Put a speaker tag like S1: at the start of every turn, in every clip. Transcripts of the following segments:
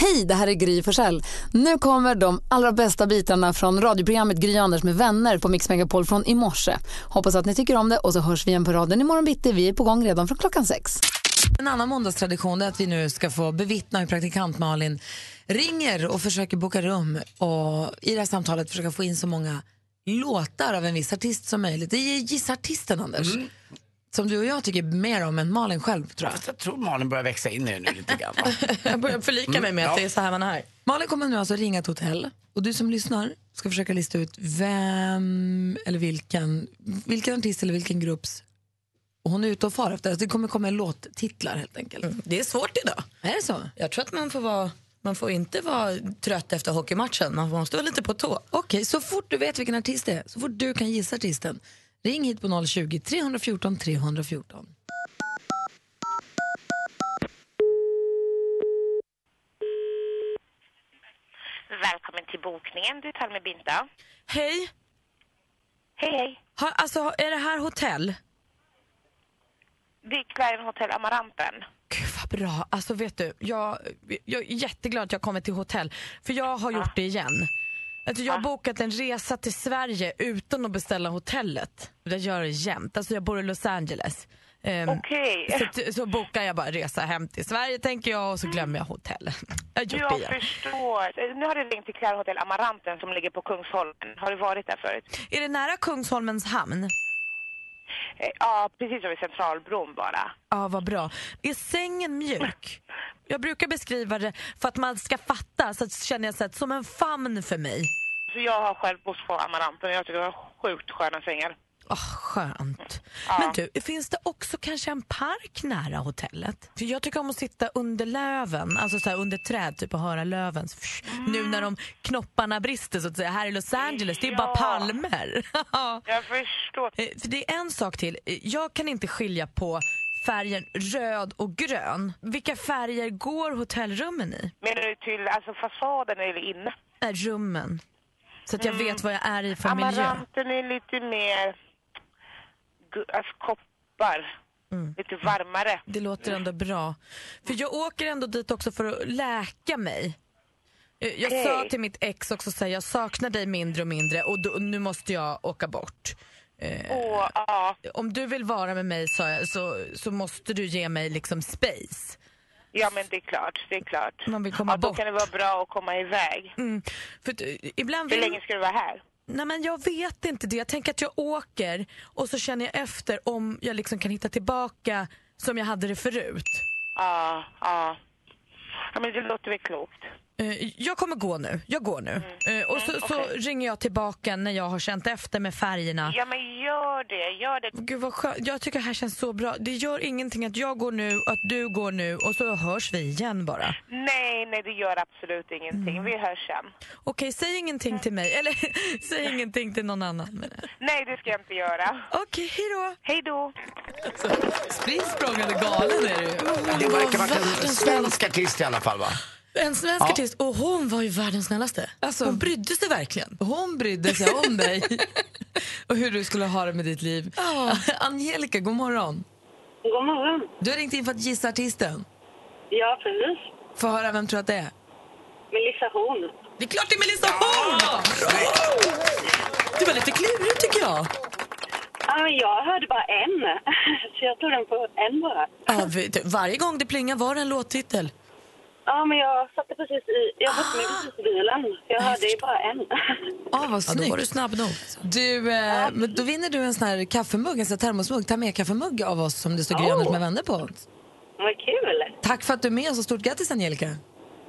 S1: Hej, det här är Gry Forssell. Nu kommer de allra bästa bitarna från radioprogrammet Gry Anders med vänner på Mix Megapol från i morse. Hoppas att ni tycker om det och så hörs vi igen på raden imorgon bitti. Vi är på gång redan från klockan sex.
S2: En annan måndagstradition är att vi nu ska få bevittna hur praktikant Malin ringer och försöker boka rum och i det här samtalet försöka få in så många låtar av en viss artist som möjligt. Det är gissartisten Anders. Som du och jag tycker mer om än Malin själv tror jag.
S3: Jag tror Malin börjar växa in i det nu lite grann. va?
S4: Jag börjar förlika mig med att
S3: ja.
S4: det är så här man är.
S2: Malin kommer nu alltså ringa ett hotell och du som lyssnar ska försöka lista ut vem eller vilken, vilken artist eller vilken grupps och hon är ute och far efter. Alltså det kommer komma låttitlar helt enkelt.
S4: Mm. Det är svårt idag.
S2: Är det så?
S4: Jag tror att man får, vara, man får inte vara trött efter hockeymatchen. Man måste vara lite på tå.
S2: Okej, så fort du vet vilken artist det är, så fort du kan gissa artisten, ring hit på 020 314 314.
S5: Välkommen till bokningen. Du talar med Binta.
S4: Hej!
S5: Hej, hej.
S4: Ha, alltså, är det här hotell?
S5: Det är Clarion Hotel Amaranten.
S4: Gud vad bra. Alltså vet du, jag, jag är jätteglad att jag kommer till hotell. För jag har gjort det igen. Alltså, jag har bokat en resa till Sverige utan att beställa hotellet. Jag gör det jämt. Alltså jag bor i Los Angeles. Ehm,
S5: Okej.
S4: så, så bokar jag bara resa hem till Sverige tänker jag och så glömmer jag hotellet. Jag har gjort det
S5: Jag
S4: igen.
S5: förstår. Eh, Nu har du ringt till Clarion Hotel Amaranten som ligger på Kungsholmen. Har du varit där förut?
S4: Är det nära Kungsholmens hamn?
S5: Eh, Ja, precis som vid Centralbron bara.
S4: Ja, vad bra. Är sängen mjuk? Jag brukar beskriva det för att man ska fatta, så att, känner jag så att, som en famn för mig.
S5: Så jag har själv bott på Amaranten och jag tycker det har sjukt sköna sängar.
S4: Åh, Ah, skönt. Men du, finns det också kanske en park nära hotellet? För jag tycker om att sitta under löven, alltså så här under träd typ och höra lövens fsch, Nu när de knopparna brister så att säga. Här i Los Angeles, det är ju bara
S5: Ja.
S4: palmer.
S5: Jag förstår.
S4: Eh, För det är en sak till. Eh, Jag kan inte skilja på färgen röd och grön. Vilka färger går hotellrummen i?
S5: Menar du till alltså, fasaden eller inne?
S4: Är rummen. Så att jag vet vad jag är i för miljö.
S5: Amaranten är lite mer... gu- Alltså koppar.
S4: Mm.
S5: Lite varmare.
S4: Det låter ändå bra. För jag åker ändå dit också för att läka mig. Eh, Jag sa
S5: Okej.
S4: till mitt ex också att jag saknar dig mindre och mindre och då, nu måste jag åka bort. Mm.
S5: Och, ja,
S4: Om du vill vara med mig sa jag, så, så måste du ge mig liksom space.
S5: Ja, men det är klart. Det är klart.
S4: Man vill komma
S5: ja, då
S4: bort.
S5: kan det vara bra att komma iväg.
S4: Mm. För att, eh, ibland
S5: Hur
S4: vill...
S5: länge ska du vara här?
S4: Nej men jag vet inte det. Jag tänker att jag åker och så känner jag efter om jag liksom kan hitta tillbaka som jag hade det förut.
S5: Ja, ja. Ja, men det låter väl klokt.
S4: Eh, Jag kommer gå nu. Jag går nu. Eh, Och så, så
S5: Mm. okej.
S4: ringer jag tillbaka när jag har känt efter med färgerna.
S5: Ja, men gör det. Gör det.
S4: Gud vad skönt. Jag tycker det här känns så bra. Det gör ingenting att jag går nu och att du går nu och så hörs vi igen bara.
S5: Nej, nej, det gör absolut ingenting.
S4: Mm.
S5: Vi hörs sen.
S4: Okej, säg ingenting till mig. Eller säg ingenting till någon annan. menar jag.
S5: Nej, det ska jag inte göra.
S4: Okej, hejdå.
S5: Hej då!
S2: Spring språngande galen är du ju.
S3: Det verkar vara en
S4: världens
S3: svensk artist i alla fall va?
S4: En svensk
S3: Ja.
S4: artist. Och hon var ju världens snällaste.
S2: Alltså-
S4: hon brydde sig verkligen.
S2: Hon brydde sig om dig och hur du skulle ha det med ditt liv. Angelica, god morgon.
S6: God morgon.
S2: Du har ringt in för att gissa artisten.
S6: Ja, precis.
S2: Få höra vem tror att det är.
S6: Melissa Horn.
S4: Det är klart det är Melissa Horn! Det var lite klurigt tycker jag.
S6: Ah, jag hörde bara en, så jag tog den på en bara.
S4: Ja, vi- t- varje gång det plingar var det en låttitel.
S6: Ja, men jag satte precis i... Jag satte
S4: Ah.
S6: mig precis i bilen, så jag hörde ju bara en.
S2: Ah, vad
S4: Ja, då var du
S2: snyggt.
S4: snabb nog.
S2: Du, eh, men då vinner du en sån här kaffemugg, en sån här termosmugg, ta med kaffemugg av oss som det står Gry Anders med vänner på.
S6: Vad kul!
S2: Tack för att du är med oss och stort grattis Angelica.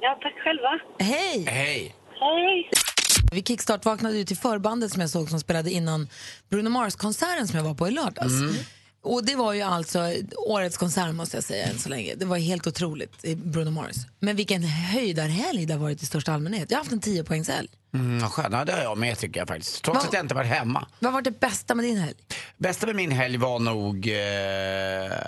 S6: Ja, tack själva.
S2: Hej!
S3: Hej!
S6: Hej!
S2: Vi kickstart-vaknade ju till förbandet som jag såg som spelade innan Bruno Mars-konserten som jag var på i lördags.
S4: Mm.
S2: Och det var ju alltså årets konsert måste jag säga än så länge. Det var helt otroligt, eh, Bruno Mars. Men vilken höjdarhelg det har varit i största allmänhet. Jag har haft en 10-poängshelg.
S3: Mm, vad skönt. Ja, det har jag med tycker jag faktiskt. Trots
S2: Va-
S3: att jag inte varit hemma.
S2: Vad har varit det bästa med din helg?
S3: Bästa med min helg var nog eh,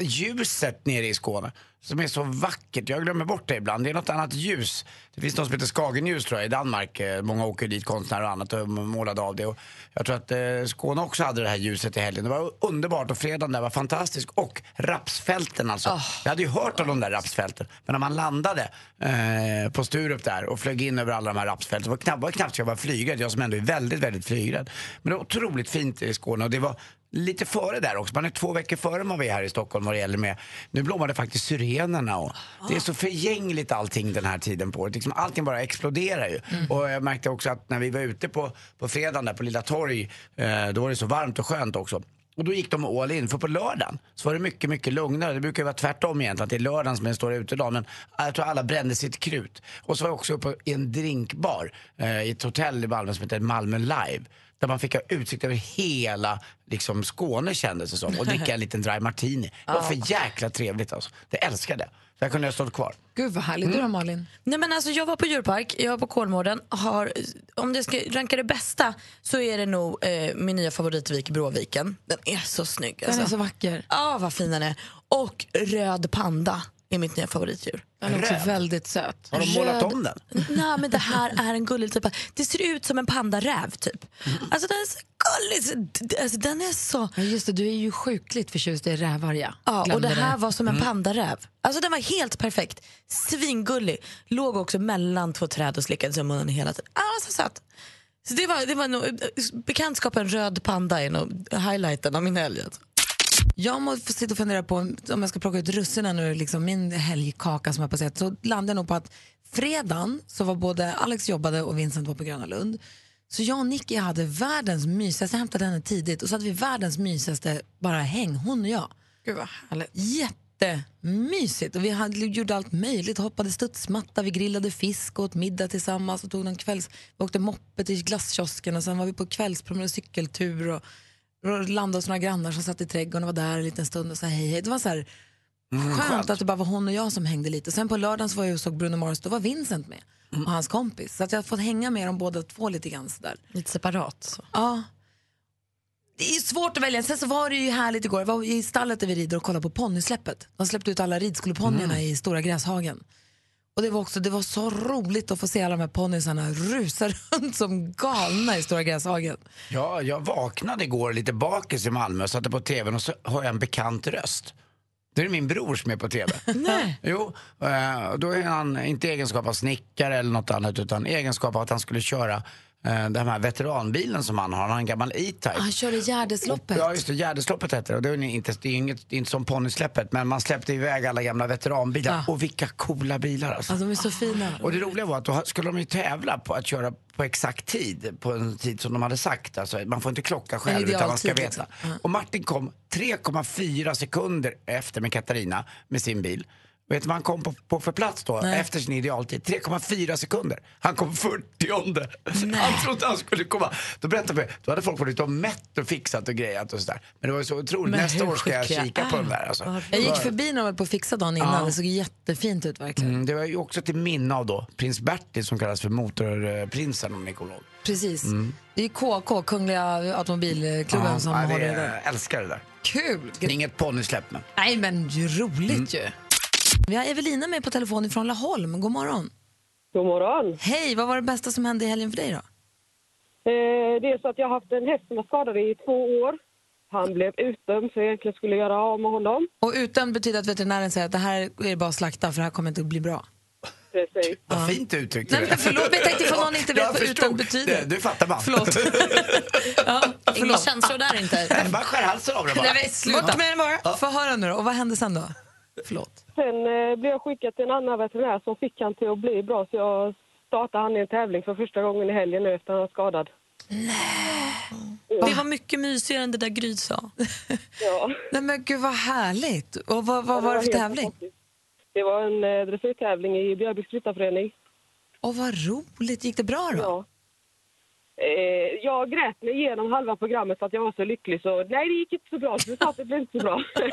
S3: ljuset nere i Skåne som är så vackert. Jag glömmer bort det ibland. Det är något annat ljus. Det finns något som heter Skagenljus tror jag i Danmark. Eh, Många åker dit, konstnärer och annat, och målade av det. Och jag tror att eh, Skåne också hade det här ljuset i helgen. Det var underbart och fredagen där var fantastisk. Och rapsfälten alltså. Jag hade ju hört om de där rapsfälten. Men när man landade eh, på Sturup där och flög in över alla de här rapsfälten. Det var knappt, var knappt så jag var flygrädd. Jag som ändå är väldigt, väldigt flygrädd. Men det var otroligt fint i Skåne och det var lite före där också. Man är två veckor före man är här i Stockholm vad det gäller med. Nu blommade faktiskt syrenerna och det är så förgängligt allting den här tiden på året. Liksom allting bara exploderar ju. Och jag märkte också att när vi var ute på, på fredagen där på Lilla Torg, eh, då var det så varmt och skönt också. Och då gick de all in, för på lördagen så var det mycket, mycket lugnare. Det brukar ju vara tvärtom egentligen, att det är lördagen som är den stora utedagen. Men jag tror alla brände sitt krut. Och så var jag också uppe i en drinkbar eh, i ett hotell i Malmö som heter Malmö Live där man fick ha utsikt över hela liksom, Skåne kändes det som och dricka en liten dry martini. Det var för jäkla trevligt alltså. Det älskade jag. Så jag kunde ha stått kvar.
S2: Gud vad härligt. Du då Malin?
S4: Nej, men alltså, jag var på djurpark, jag var på Kolmården. Har, om jag ska ranka det bästa så är det nog eh, min nya favoritvik, Bråviken. Den är så snygg.
S2: Den
S4: Alltså.
S2: är så vacker.
S4: Ja, vad fin den är. Och röd panda är mitt nya favoritdjur.
S2: Den är också väldigt söt.
S3: Har de målat om den?
S4: Nej, men det här är en gullig typ. av- Det ser ut som en pandaräv typ.
S3: Mm.
S4: Alltså den är så gullig. så- d- d- Alltså, den är så...
S2: Ja, just det, du är ju sjukligt förtjust i rävar ja.
S4: Ja, och
S2: Glömde
S4: det här var som en
S3: Mm.
S4: pandaräv. Alltså den var helt perfekt. Svingullig. Låg också mellan två träd och slickade sig i munnen hela tiden. Ah, så söt. Så det var, det var nog, bekantskapen röd panda är nog highlighten av min helg. Alltså.
S2: Jag måste sitta och fundera på om jag ska plocka ut russinen ur liksom min helgkaka som jag på sätt. Så landade jag nog på att fredagen så var både Alex jobbade och Vincent var på Gröna Lund. Så jag och Nicky hade världens mysigaste, jag hämtade henne tidigt och så hade vi världens mysigaste bara häng, hon och jag.
S4: Gud vad härligt.
S2: Jättemysigt och vi hade, gjorde allt möjligt, hoppade studsmatta, vi grillade fisk och åt middag tillsammans och tog någon kvälls, vi åkte moppe till glasskiosken och sen var vi på kvällspromenad och cykeltur och, och landade hos några grannar som satt i trädgården och var där en liten stund och sa hej hej. Det var så här, Mm. skönt, att det bara var hon och jag som hängde lite. Sen på lördagen så var jag och såg Bruno Mars, då var Vincent med och hans kompis. Så att jag har fått hänga med dem båda två lite grann sådär.
S4: Lite separat. Så.
S2: Ja. Det är ju svårt att välja. Sen så var det ju härligt igår. Jag var i stallet där vi rider och kollade på ponnysläppet. De släppte ut alla ridskoleponnyerna i stora gräshagen. Och det var också, det var så roligt att få se alla de här ponnysarna rusa runt som galna i stora gräshagen.
S3: Ja, jag vaknade igår lite bakis i Malmö och satte på tvn och så hör jag en bekant röst. Det är min bror som är på tv. Nej. Jo, eh, och då är han inte i egenskap av snickare eller något annat utan i egenskap av att han skulle köra eh, den här veteranbilen som han har. Han har en gammal E-Type.
S2: Han körde Gärdesloppet.
S3: Ja, just det. Gärdesloppet heter det. Och det är ju inte, det är ju inget, det är inte som ponnysläppet, men man släppte iväg alla gamla veteranbilar. Och vilka coola bilar alltså.
S2: Alltså, de är så fina.
S3: Och det roliga var att då skulle de ju tävla på att köra på exakt tid, på en tid som de hade sagt. Alltså, man får inte klocka själv utan man ska
S2: idealtid,
S3: veta.
S2: liksom. Ja.
S3: Och Martin kom 3,4 sekunder efter med Katarina med sin bil. Vet du vad han kom på, på för plats då, efter sin idealtid? 3,4 sekunder. Han kom 40 Han trodde han skulle komma. Då berättade vi, då hade folk varit ute och mätt och fixat och grejat och sådär. Men det var ju så otroligt.
S2: Men
S3: Nästa
S2: hur
S3: år ska jag
S2: skickliga
S3: kika på
S2: är
S3: den där alltså.
S2: Jag gick förbi när de höll på att fixa dagen innan. Det såg jättefint ut verkligen.
S3: Mm, Det var ju också till minne av då prins Bertil som kallas för motorprinsen om ni kommer ihåg.
S2: Precis. Det är KK, Kungliga Automobilklubben, som
S3: Mm. ja,
S2: har
S3: det
S2: det där.
S3: Jag älskar det där.
S2: Kul!
S3: Det är Inget ponnysläpp men.
S2: Nej, men ju
S3: Mm.
S2: roligt ju. Vi har Evelina med på telefon från Laholm. God morgon.
S6: God morgon.
S2: Hej, vad var det bästa som hände i helgen för dig då?
S6: Eh, det är så att jag har haft en häst som var skadad i två år. Han blev utdömd så jag egentligen skulle göra av med honom.
S2: Och utan betyder att veterinären säger att det här är det bara att slakta för det här kommer inte att bli bra.
S6: Precis.
S3: Vad fint du uttryckte
S2: Nej, men förlåt, men jag tänkte för någon inte vet
S3: Jag
S2: vad
S3: förstod.
S2: utan betyder.
S3: Det, du fattar man.
S2: Förlåt. ja,
S4: Inga
S2: förlåt.
S4: känslor där inte.
S3: Man skär halsen av det bara.
S2: Nej, men sluta. med bara. Få höra nu då. Och vad hände sen då? Förlåt.
S6: Sen eh, blev jag skickad till en annan veterinär som fick han till att bli bra så jag startade han i en tävling för första gången i helgen nu efter han var skadad.
S4: Det var mycket mysigare än det där Gry sa.
S6: Ja.
S2: Nej men gud vad härligt. Och vad, vad var det för
S6: helt
S2: tävling?
S6: fantastiskt. Det var en eh, dressyrtävling i Björbyks ryttarförening.
S2: Och vad roligt. Gick det bra då?
S6: Ja. Eh, jag grät mig igenom halva programmet för att jag var så lycklig så nej det gick inte så bra så vi sa att det blev inte så bra.
S2: Men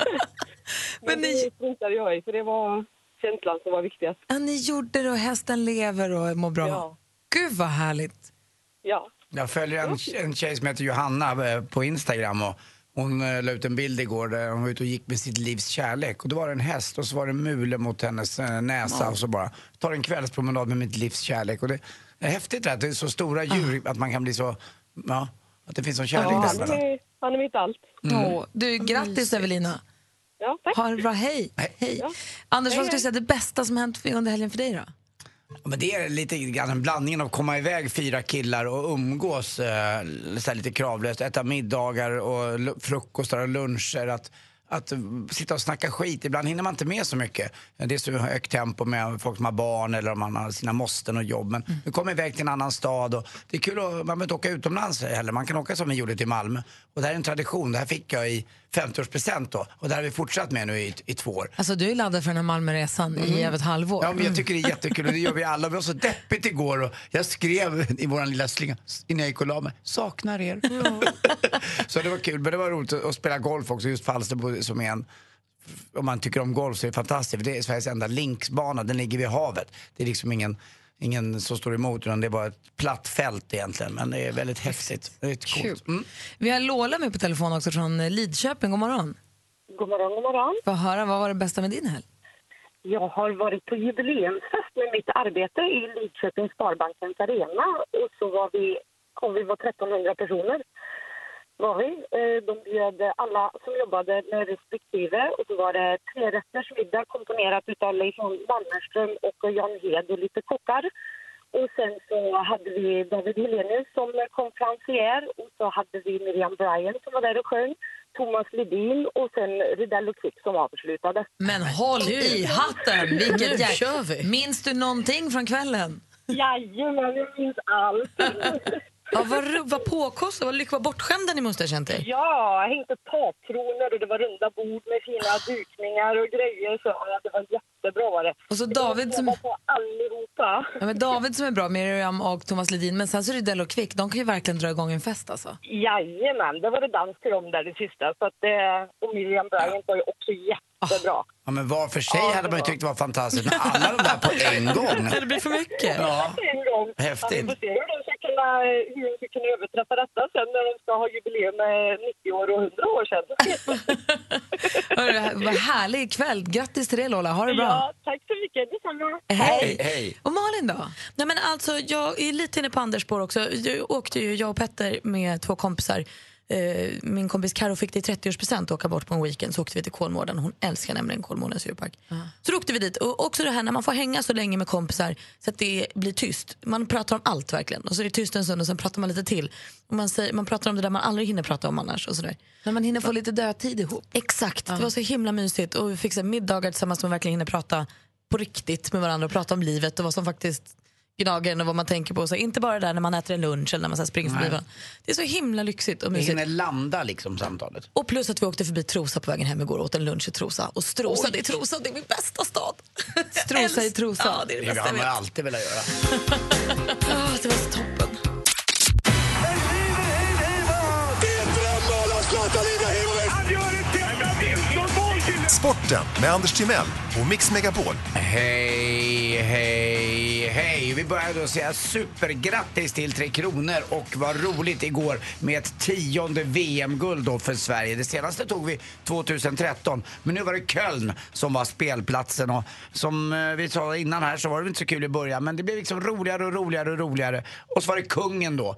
S6: Men
S2: ni-
S6: det struntade jag i för det var känslan som var viktigast.
S2: Ja, ni gjorde det och hästen lever och mår bra.
S6: Ja.
S2: Gud vad härligt.
S6: Ja.
S3: Jag följer en, en tjej som heter Johanna eh, på Instagram och Hon eh, la ut en bild igår där hon var ute och gick med sitt livs kärlek. Och då var det en häst och så var det en mule mot hennes eh, näsa och så bara, tar en kvällspromenad med mitt livs kärlek. Och det är häftigt det här, att det är så stora djur, att man kan bli så, ja, att det finns sån kärlek
S6: Ja, han,
S3: däremellan.
S6: är, han är mitt allt.
S2: Åh, du, grattis Evelina.
S6: Ja, tack.
S2: Ha det bra, hej. hej. Anders, vad skulle du säga är det bästa som hänt under helgen för dig då?
S3: Ja, Men det är lite grann en blandning av att komma iväg fyra killar och umgås eh, så här lite kravlöst, äta middagar och lu- frukostar och luncher. Att, att eh, sitta och snacka skit, ibland hinner man inte med så mycket. Eh, Det är så högt tempo med folk som har barn eller om man har sina måsten och jobb. Men nu kommer iväg till en annan stad och det är kul att man behöver inte åka utomlands heller. Man kan åka som vi gjorde till Malmö. Och det här är en tradition, det här fick jag i 50-årspresent då. Och det här har vi fortsatt med nu i, i två år.
S2: Alltså du är laddad för den här Malmöresan i över ett halvår.
S3: Ja, men jag tycker det är jättekul och det gör vi alla. Vi var så deppigt igår och jag skrev i vår lilla slinga innan jag gick och la mig, saknar er. så det var kul, men det var roligt att att spela golf också just Falsterbo som är en om man tycker om golf så är det fantastiskt. För det är Sveriges enda linksbana, den ligger vid havet. Det är liksom ingen, ingen som står emot utan det är bara ett platt fält egentligen. Men det är väldigt häftigt. Det är
S2: Kul.
S3: coolt. Mm.
S2: Vi har Lola med på telefon också från eh, Lidköping. God morgon.
S6: God morgon, god morgon.
S2: Få höra, vad var det bästa med din helg?
S6: Jag har varit på jubileumsfest med mitt arbete i Lidköpings Sparbankens arena. Och så var vi, och vi var 1300 personer. Var vi. Eh, De bjöd alla som jobbade med respektive. Och så var det tre rätters middag komponerat utav Leif Mannerström och Jan Hed och lite kockar. Och sen så hade vi David Helenius som konferencier och så hade vi Miriam Bryan som var där och sjöng, Thomas Ledin och sen Rydell och Kvick som avslutade.
S2: Men håll i hatten! Vilket
S4: Nu
S2: jäk-
S4: kör vi.
S2: Minns du någonting från kvällen?
S6: Jajamän, jag minns allt.
S4: Ja, vad, ro- vad påkostad, vad, lyck- vad bortskämda ni måste ha känt er.
S6: Ja, jag hängde takkronor och det var runda bord med fina dukningar och grejer. Så ja, det var jättebra var det.
S2: Och så
S6: Det var
S2: David som-
S6: bra på allihopa.
S2: Ja, men David som är bra, Miriam och Thomas Ledin, men sen så är det Dello Quick. De kan ju verkligen dra igång en fest alltså.
S6: Jajamän, det var det dans till dem där det sista. Så att, eh, och Miriam Bryant var ju också jättebra.
S2: Ah.
S3: Ja, men var för sig
S6: Ja, det
S3: hade man ju
S6: var-
S3: tyckt det var fantastiskt, men alla de där på en gång.
S4: Det blir för mycket.
S3: Ja.
S6: En gång.
S3: Häftigt.
S6: Ja, Vi får se hur de ska kunna, hur de ska kunna överträffa detta sen när de ska ha jubileum med 90 år och 100 år sedan.
S2: Hörru, Vad härlig kväll. Grattis till det Lola, ha det bra. Eh,
S6: Ja, tack så mycket. Detsamma.
S2: Hej.
S3: hej.
S2: Och Malin då?
S4: Nej, men alltså, jag är lite inne på Anders spår också. Jag åkte ju, jag och Petter med två kompisar. Eh, min kompis Karo fick det i 30-årspresent att åka bort på en weekend. Så åkte vi till Kolmården. Hon älskar nämligen Kolmårdens djurpark. Så då åkte vi dit. Och också det här när man får hänga så länge med kompisar så att det blir tyst. Man pratar om allt verkligen. Och så är det tyst en stund och sen pratar man lite till. Och man, säger, man pratar om det där man aldrig hinner prata om annars. Och sådär.
S2: När man hinner få lite dödtid ihop.
S4: Exakt, det var så himla mysigt och vi fick så här middagar tillsammans där man verkligen hinner prata på riktigt med varandra och prata om livet och vad som faktiskt gnager en och vad man tänker på. Så inte bara det där när man äter en lunch eller när man så här springer förbi varandra. Det är så himla lyxigt och
S3: Vi
S4: mysigt.
S3: hinner landa liksom samtalet.
S4: Och plus att vi åkte förbi Trosa på vägen hem igår och åt en lunch i Trosa. Och Strosa, det är Trosa, det är min bästa stad.
S2: Strosa i Trosa.
S4: Ja, det är det
S3: Det
S4: bästa jag
S3: har man
S4: vet.
S3: alltid velat göra.
S4: Ah, det var så toppen.
S7: Sporten med Anders Timell och Mix Megapol.
S3: Hej, hej, hej. Vi börjar då säga supergrattis till Tre Kronor och vad roligt igår med ett tionde VM-guld då för Sverige. Det senaste tog vi 2013, men nu var det Köln som var spelplatsen och som eh, vi sa innan här så var det inte så kul i början, men det blev liksom roligare och roligare och roligare. Och så var det kungen då.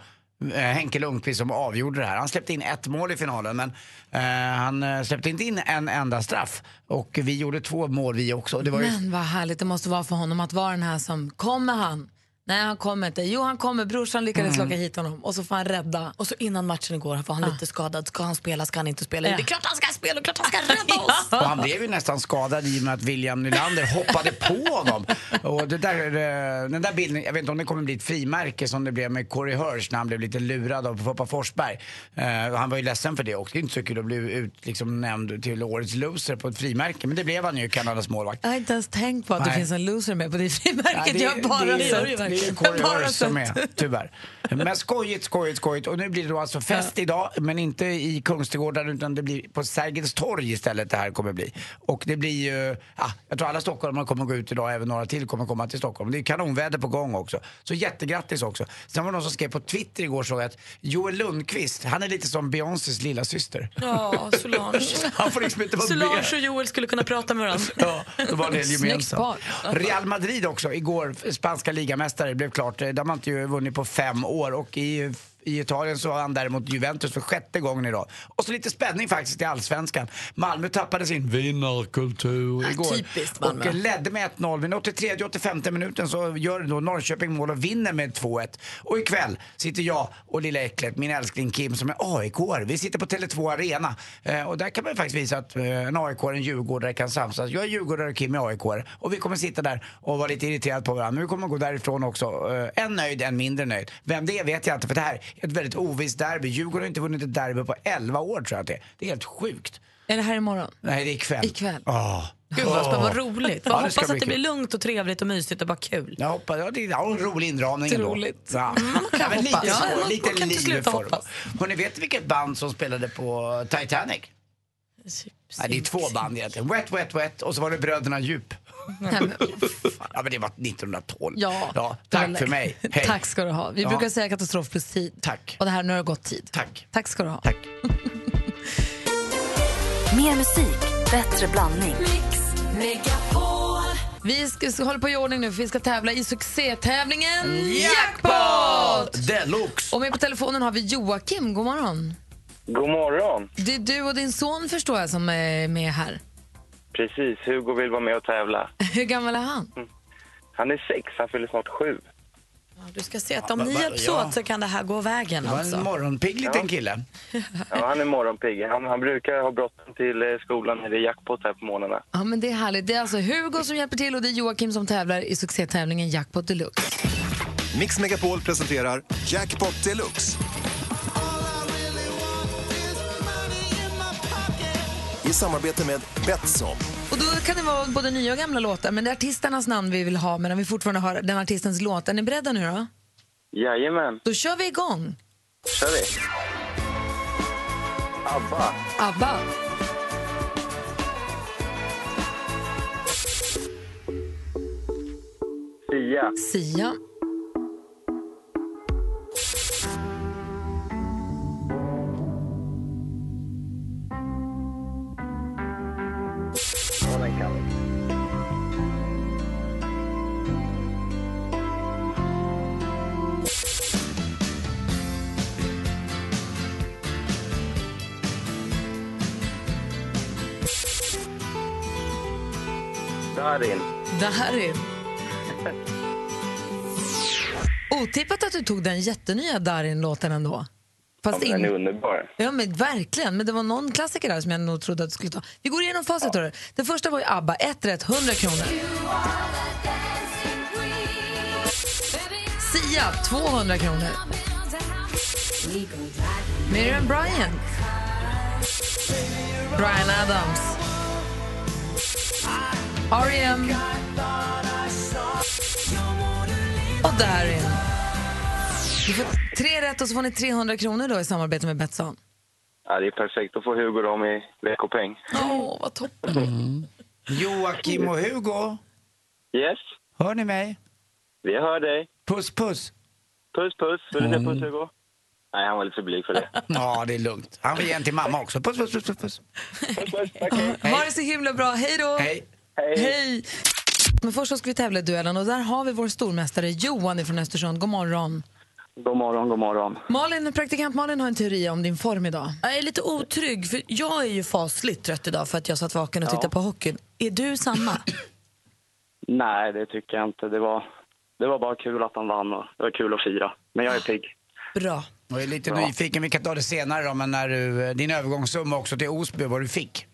S3: eh, Henke Lundqvist som avgjorde det här. Han släppte in ett mål i finalen men eh, han eh, släppte inte in en enda straff. Och vi gjorde två mål vi också. Det var ju
S2: Men vad härligt det måste vara för honom att vara den här som, kommer han? Nej han kommer inte. Jo han kommer, brorsan lyckades locka hit honom och så får han rädda.
S4: Och så innan matchen igår var han lite skadad. Ska han spela, ska han inte spela?
S2: Ja.
S4: Det är klart han ska spela, klart han ska rädda oss!
S3: Och han blev ju nästan skadad i och med att William Nylander hoppade på honom. Och det där, eh, den där bilden, jag vet inte om det kommer bli ett frimärke som det blev med Corey Hirsch när han blev lite lurad av Poppa Forsberg. Eh, och han var ju ledsen för det också. Det är inte så kul att bli ut, liksom, nämnd till årets loser på ett frimärke. Men det blev han ju, Kanadas målvakt.
S2: Jag har inte ens tänkt på att det
S3: Nej.
S2: finns en loser med på det
S3: Ja,
S2: frimärket.
S3: det-
S2: jag har bara
S3: det-
S2: sett.
S3: det- det är Kåre Hörs som är, tyvärr. Men skojigt, skojigt, skojigt. Och nu blir det då alltså fest idag, men inte i Kungsträdgården utan det blir på Sergels torg istället det här kommer bli. Och det blir ju, ja, jag tror alla stockholmare kommer gå ut idag, även några till kommer komma till Stockholm. Det är kanonväder på gång också. Så jättegrattis också. Sen var det någon som skrev på Twitter igår såg jag att Joel Lundqvist, han är lite som Beyoncés lilla syster.
S4: Ja, Solange.
S3: Han får liksom inte vara med.
S4: Solange och Joel skulle kunna prata med varandra.
S3: Ja, då var det
S4: Snyggt
S3: gemensamt.
S4: par.
S3: Real Madrid också, igår, spanska ligamästare, blev klart. De har inte ju vunnit på fem år och i, i Italien så vann däremot Juventus för sjätte gången idag. Och så lite spänning faktiskt i allsvenskan. Malmö tappade sin vinnarkultur igår.
S4: typiskt Malmö.
S3: Och ledde med 1-0, men 83-85 minuten så gör då Norrköping mål och vinner med 2-1. Och ikväll sitter jag och lilla äcklet, min älskling Kim som är aik Vi sitter på Tele2 Arena. Eh, och där kan man ju faktiskt visa att eh, en aik en djurgårdare kan samsas. Jag är djurgårdare och Kim är aik Och vi kommer sitta där och vara lite irriterade på varandra. Men vi kommer gå därifrån också. Eh, en nöjd, en mindre nöjd. Vem det är vet jag inte, för det här är ett väldigt ovisst derby. Djurgården har inte vunnit ett derby på 11 år tror jag att det är. Det är helt sjukt.
S2: Är det här imorgon?
S3: Nej, det är ikväll.
S2: Ikväll.
S3: Åh.
S4: Gud vad,
S3: Åh.
S4: vad roligt. Jag
S3: Ja, det
S4: hoppas
S3: ska
S4: att
S3: bli
S4: det blir
S3: kul.
S4: lugnt och trevligt och mysigt och bara kul.
S3: Jag hoppas, ja, det är ja, en rolig inramning ändå.
S4: Roligt.
S3: Ja. Man
S4: Mm, kan
S3: men lite
S4: hoppas.
S3: så,
S4: Ja, man
S3: lite
S4: kan inte
S3: liv
S4: sluta
S3: får det vara.
S4: hoppas.
S3: Och ni vet vilket band som spelade på Titanic? Nej, det är två band egentligen. Wet, Wet, Wet och så var det Bröderna Djup. ja, men det var 1912.
S2: Ja.
S3: tack för mig. Hej.
S2: Tack ska du ha. Vi
S3: Ja.
S2: brukar säga katastrof plus tid.
S3: Tack.
S2: Och det här, nu har det gått tid.
S3: Tack.
S2: Tack ska du ha.
S3: Tack.
S8: Mer musik, bättre blandning.
S2: Vi ska, ska hålla på i ordning nu för vi ska tävla i succétävlingen
S9: Deluxe!
S2: Och med på telefonen har vi Joakim. God morgon.
S9: God morgon!
S2: Det är du och din son förstår jag som är med här.
S9: Precis, Hugo vill vara med och tävla.
S2: Hur gammal är han?
S9: Han är sex, han fyller snart sju.
S4: Du ska se att om
S9: Ja,
S4: ni
S9: va-
S4: hjälps
S9: ja.
S4: åt så kan det här gå vägen.
S9: Det var en
S4: Alltså.
S3: morgonpigg
S9: liten
S3: kille.
S9: Ja, han är morgonpigg. Han, han brukar ha bråttom till eh, skolan när det är jackpot här på morgnarna.
S2: Ja, men det är härligt. Det är alltså Hugo som hjälper till och det är Joakim som tävlar i succétävlingen Jackpot Deluxe.
S7: Mix Megapol presenterar Jackpot Deluxe. I samarbete med Betsson.
S2: Och då kan det vara både nya och gamla låtar, men det är artisternas namn vi vill ha medan vi fortfarande har den artistens låt. Är ni beredda nu då?
S9: Jajamän,
S2: Då kör vi igång.
S9: kör vi! ABBA,
S2: ABBA.
S9: Sia,
S2: Sia.
S9: och den kan vi. Darin.
S2: Darin. Otippat att du tog den jättenya Darin-låten ändå. Fast
S9: ja, men den är
S2: in...
S9: underbar.
S2: Ja, men verkligen. Men det var någon klassiker där som jag nog trodde att du skulle ta. Vi går igenom facit. Ja. Den första var ju ABBA. Ett rätt, 100 kronor. Sia, 200 kronor. Miriam Bryant. Bryan Adams. E R.E.M. Och Darin. Du får tre rätt och så får ni 300 kronor då i samarbete med Betsson.
S9: Ja, det är perfekt. Då får Hugo dem i veckopeng.
S2: Åh, vad toppen.
S3: Joakim och Hugo,
S9: Yes,
S3: hör ni mig?
S9: vi hör dig.
S3: Puss, puss.
S9: Puss, puss. Vill du säga puss, Hugo? Nej, han var lite för blyg för det.
S3: Ja, det är lugnt. Han vill ge en till mamma också. Puss, puss, puss, puss. puss.
S2: Ha det så himla bra. Hej då!
S3: Hej.
S2: Hej. Men först så ska vi tävla i duellen och där har vi vår stormästare Johan från Östersund. God morgon.
S9: God morgon, god morgon.
S2: Malin, praktikant Malin har en teori om din form idag.
S4: Jag är lite otrygg, för jag är ju fasligt trött idag för att jag satt vaken och
S9: Ja.
S4: tittade på hockeyn. Är du samma?
S9: Nej, det tycker jag inte. Det var, det var bara kul att han vann och det var kul att fira. Men jag är pigg.
S4: Bra.
S3: Jag är lite nyfiken, vi kan ta det senare då, men när du, eh, din övergångssumma också till Osby, vad du fick.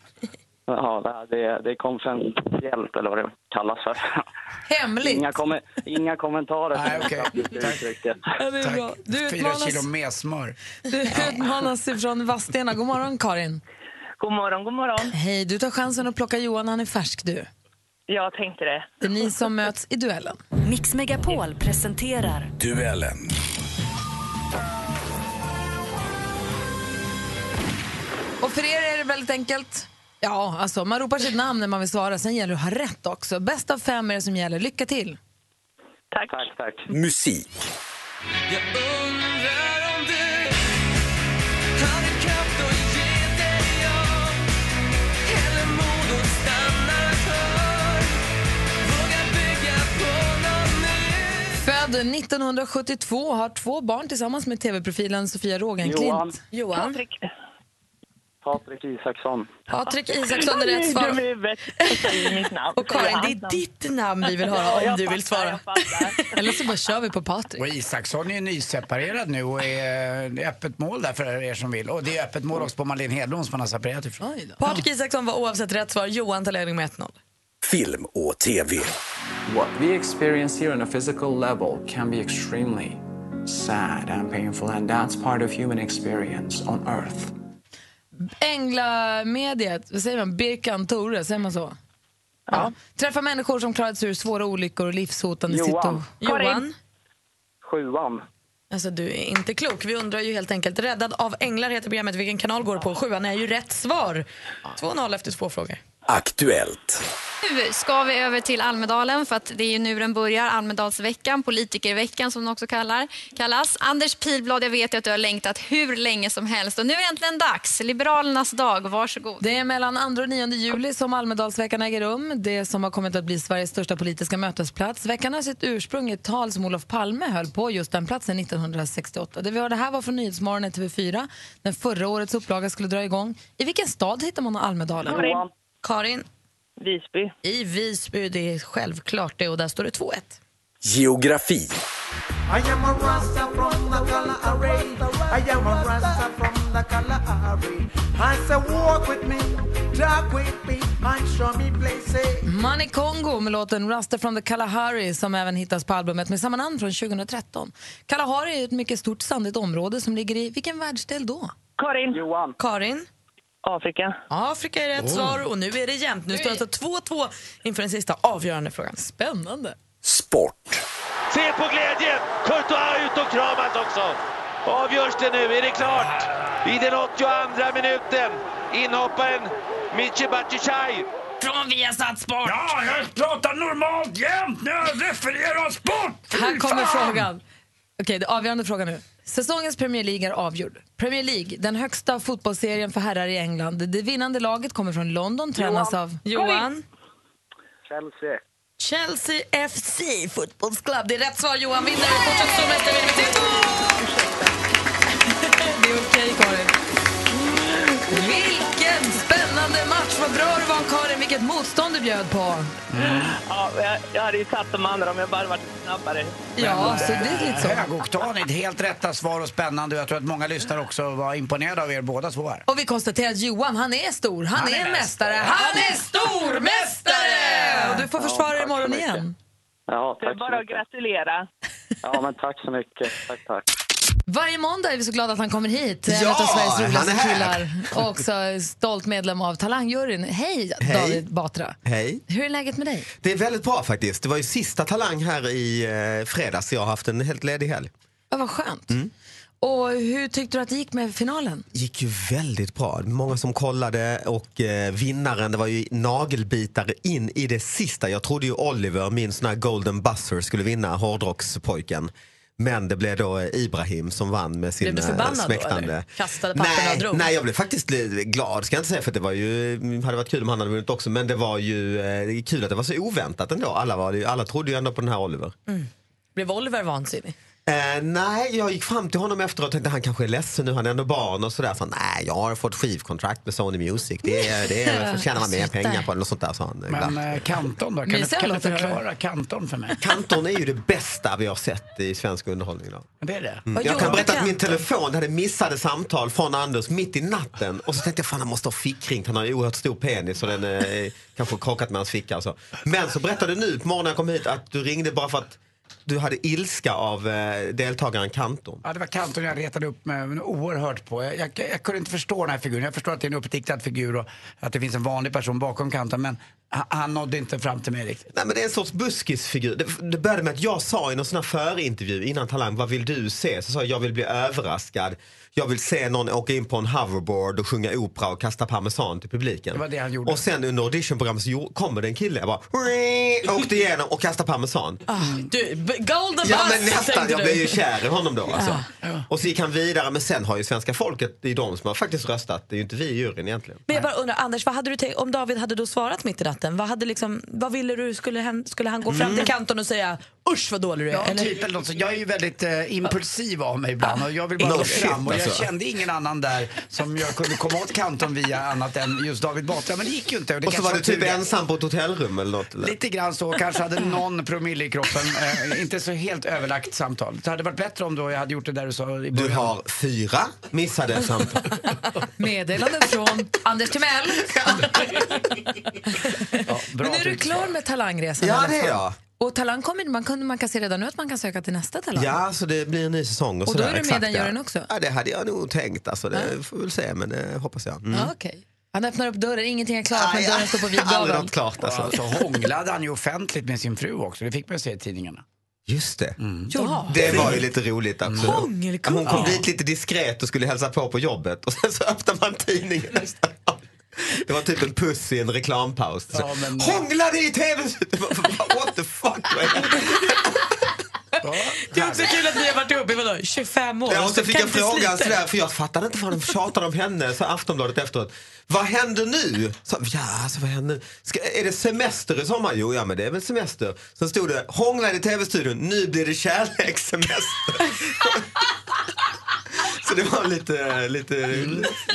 S9: Ja, det, det är konfidentiellt, eller vad det kallas för.
S2: Hemligt!
S9: Inga, komme, inga kommentarer.
S3: Nej, okej.
S2: Ja, det är bra. Du
S3: Fyra
S2: utmanas,
S3: kilo messmör.
S2: du utmanas ifrån Vadstena. God morgon, Karin.
S10: God morgon, god morgon.
S2: Hej, du tar chansen att plocka Johan, han är färsk du.
S10: Jag tänkte det.
S2: Det är ni som möts i duellen.
S8: Mix Megapol presenterar
S11: Duellen.
S2: Och för er är det väldigt enkelt. Ja, alltså man ropar sitt namn när man vill svara. Sen gäller det att ha rätt också. Bäst av fem är det som gäller. Lycka till!
S11: Tack. Tack, tack. Musik.
S2: Född 1972, har två barn tillsammans med tv-profilen Sofia
S9: Johan.
S2: Rogenklint. Johan.
S9: Patrik Isaksson.
S2: Patrik Isaksson är rätt
S10: Du är
S2: svar.
S10: huvudet. Säg mitt namn.
S2: Och Karin,
S10: Säg
S2: det
S10: hans
S2: är
S10: namn.
S2: ditt namn vi vill höra om
S10: Ja, jag
S2: du vill
S10: fattar,
S2: svara.
S10: jag fattar.
S2: Eller så bara kör vi på Patrik.
S3: Och Isaksson är ju nyseparerad nu och är, det är öppet mål där för er som vill. Och det är öppet mål också på Malin Hedlund som han har separerat ifrån.
S4: Patrik Isaksson var oavsett rätt svar. Johan tar ledning med 1-0.
S11: Film och TV.
S12: What we experience here on a physical level can be extremely sad and painful, and that's part of human experience on Earth.
S2: Änglamediet, vad säger man? Birkan Tore, säger man så? Ja. Träffa människor som klarat sig ur svåra olyckor och livshotande
S9: Johan.
S2: situation.
S4: Johan.
S9: Sjuan.
S4: Alltså du är inte klok. Vi undrar ju helt enkelt. Räddad av änglar heter programmet. Vilken kanal går det på? Sjuan är ju rätt svar. 2-0 efter två frågor.
S11: Aktuellt.
S13: Nu ska vi över till Almedalen för att det är ju nu den börjar, Almedalsveckan, politikerveckan som den också kallar, kallas. Anders Pilblad, jag vet ju att du har längtat hur länge som helst och nu är det äntligen dags. Liberalernas dag, varsågod.
S2: Det är mellan 2 och 9 juli som Almedalsveckan äger rum. Det som har kommit att bli Sveriges största politiska mötesplats. Veckan har sitt ursprung i ett tal som Olof Palme höll på just den platsen 1968. Det vi hörde här var från Nyhetsmorgon i TV4 när förra årets upplaga skulle dra igång. I vilken stad hittar man Almedalen?
S4: Karin. Karin.
S10: Visby.
S4: I Visby, det är självklart det. Och där står det 2-1.
S11: Geografi.
S14: I am a Rasta from the color array. I am a Rasta from the color array. I say walk with me, talk with me, and show me places.
S2: Money Congo med låten Rasta from the Kalahari som även hittas på albumet med samma namn från 2013. Kalahari är ett mycket stort sandigt område som ligger i vilken världsdel då?
S10: Karin. Johan.
S4: Karin.
S10: Afrika.
S4: Afrika är rätt
S10: Oh.
S4: svar och nu är det jämnt. Nu står det alltså 2-2 inför den sista avgörande frågan.
S2: Spännande.
S11: Sport.
S15: Se på glädjen! Courtois ut och kramas också. Avgörs det nu är det klart. I den 82 minuten inhopparen Miche Batshuayi.
S2: Från Viasat Sport.
S3: Ja, jag pratar normalt jämt när jag refererar sport!
S2: Här
S3: Fy
S2: kommer
S3: fan!
S2: frågan. Okej, det avgörande frågan nu. Säsongens Premier League är avgjord. Premier League, den högsta fotbollsserien för herrar i England. Det vinnande laget kommer från London, tränas av...
S4: Johan.
S9: Chelsea.
S4: Chelsea FC fotbollsklubb. Det är rätt svar. Johan vinner. Fortsatt stormästare vinner med 2-2.
S2: Det är okej, Karin. Vilken spännande match! Vad bra du var, Karin. Vilket motstånd du bjöd på.
S10: Ja, jag, jag hade ju tagit de andra om jag bara varit snabbare.
S2: Ja, så det är lite så.
S3: Högoktanigt, helt rätta svar och spännande. Jag tror att många lyssnare också var imponerade av er båda två här.
S2: Och vi konstaterar att Johan, han är stor. Han, är, mästare. Han är stormästare! Och du får
S9: Ja,
S2: försvara dig
S9: tack så
S2: imorgon
S9: mycket.
S2: igen.
S9: Ja,
S10: Det är
S9: tack så
S10: bara att
S9: mycket.
S10: gratulera.
S9: Ja, men tack så mycket. Tack, tack.
S2: Varje måndag är vi så glada att han kommer hit.
S9: Ja,
S2: en av Sveriges
S9: han är
S2: roligaste
S9: här.
S2: killar. Och också stolt medlem av Talangjuryn. Hej,
S16: Hej.
S2: David Batra.
S16: Hej.
S2: Hur är läget med dig?
S16: Det är väldigt bra faktiskt. Det var ju sista Talang här i eh, fredags. så Jag har haft en helt ledig helg.
S2: Ja, vad skönt.
S16: Mm.
S2: Och hur tyckte du att det gick med finalen?
S16: gick ju väldigt bra. Många som kollade och eh, vinnaren, det var ju nagelbitare in i det sista. Jag trodde ju Oliver, min sån här golden buzzer, skulle vinna, hårdrockspojken. Men det blev då eh, Ibrahim som vann med sin
S4: Blev du
S16: eh,
S4: förbannad då,
S16: smäktande...
S4: eller? Kastade papperna och
S16: nej,
S4: drog?
S16: nej, jag blev faktiskt li- glad ska jag inte säga för det var ju, hade varit kul om han hade vunnit också men det var ju eh, det är kul att det var så oväntat ändå. Alla, var, ju- alla trodde ju ändå på den här Oliver.
S4: Blev Oliver vansinnig?
S16: Eh, nej, jag gick fram till honom efteråt och tänkte han kanske är ledsen nu, han är ändå barn och sådär. Så, nej, jag har fått skivkontrakt med Sony Music. Det, är- det är, så tjänar man mer
S3: Sluta.
S16: pengar på eller sånt där sa han. eh,
S3: Men
S16: glatt.
S3: eh, Kanton då? Kan du,
S16: Mysiga
S3: kan du
S16: låter det.
S3: förklara Kanton för mig?
S16: Kanton är ju det bästa vi har sett i svensk underhållning idag.
S3: Det är det.
S16: Mm. Jag kan berätta att min telefon hade missade samtal från Anders mitt i natten och så tänkte jag fan han måste ha fickringt, han har en oerhört stor penis och den eh, kanske har kakat med hans ficka och så. Men så berättade du nu på morgonen när jag kom hit att du ringde bara för att du hade ilska av eh, deltagaren Kanton.
S3: Ja, det var Kanton jag retade upp mig men oerhört på. Jag, jag, jag kunde inte förstå den här figuren. Jag förstår att det är en uppdiktad figur och att det finns en vanlig person bakom Kanton. Men han- han nådde inte fram till mig riktigt.
S16: Nej, men det är en sorts buskisfigur. Det, det började med att jag sa i någon sån här förintervju innan Talang, vad vill du se? Så sa jag, jag vill bli överraskad. Jag vill se någon åka in på en hoverboard och sjunga opera och kasta parmesan till publiken.
S3: Det var det han gjorde.
S16: Och sen under auditionprogrammet så gjo- kommer det en kille jag bara åkte igenom och kastade parmesan.
S4: Ah, Du, b- golden
S16: Ja
S4: buzz,
S16: men nästan,
S4: tänkte
S16: jag
S4: du.
S16: blev ju kär i honom då alltså.
S4: Ja, ja.
S16: Och så gick han vidare men sen har ju svenska folket, det är ju de som har faktiskt röstat, det är ju inte vi i juryn egentligen.
S4: Men jag bara undrar, Anders, vad hade du tänkt, om David hade då svarat mitt i natten, vad, hade liksom, vad ville du, skulle han, skulle han gå fram
S3: Mm.
S4: till kanten och säga usch vad dålig du är?
S3: Ja, typ eller något sånt. Jag är ju väldigt eh, impulsiv av mig ibland och jag vill bara
S16: No
S3: gå
S16: shit,
S3: fram och jag
S16: alltså.
S3: kände ingen annan där som jag kunde komma åt kanten via annat än just David Batra. Men det gick ju inte.
S16: Och så
S3: kanske
S16: var du
S3: tur
S16: typ
S3: det.
S16: ensam på ett hotellrum eller något? Eller?
S3: Lite grann så, kanske hade någon promille i kroppen. Eh, inte så helt överlagt samtal. Det hade varit bättre om då jag hade gjort det där du sa i början.
S16: Du har fyra missade samtal.
S2: Meddelanden från Anders Timell.
S3: Bra
S2: Men nu är du
S3: tips.
S2: klar med talangresan i
S16: Ja
S2: alla
S16: det är
S2: fall.
S16: jag.
S2: Och talang kommer, man, kan, man kan se redan nu att man kan söka till nästa talang.
S16: Ja, så det blir en ny säsong och,
S2: Och då är du
S16: sådär.
S2: med i
S16: exakt,
S2: den
S16: ja.
S2: juryn också?
S16: Ja, det hade jag nog tänkt. Alltså, det får vi väl se, men det hoppas jag. Mm.
S2: Ja, okej. Han öppnar upp dörren, ingenting är klart men dörren står på vid
S16: Aldrig
S2: gavel.
S16: något klart alltså.
S3: Ja, så hånglade han ju offentligt med sin fru också. Det fick man ju se i tidningarna.
S16: Just det.
S2: Mm.
S3: Ja.
S16: Det var ju lite roligt. Absolut.
S3: Hångelkung.
S16: Hon kom
S3: Ja.
S16: dit lite diskret och skulle hälsa på på jobbet och sen så öppnade man tidningen nästa dag. Det var typ en puss i en reklampaus. Så,
S3: Ja, men-
S16: Hånglade i tv! What the fuck?
S4: Det är också kul att ni har varit ihop i vadå, 25 år?
S16: Ja, och så fick
S4: Kan
S16: jag
S4: inte
S16: frågan
S4: slita.
S16: sådär, för jag fattade inte vad de tjatade om henne, så Aftonbladet efteråt. Vad händer nu? Så, ja, alltså vad händer? Ska, är det semester i sommar? Jo, ja men det är väl semester. Sen stod det, hångla i tv-studion, nu blir det kärlekssemester. så det var lite, lite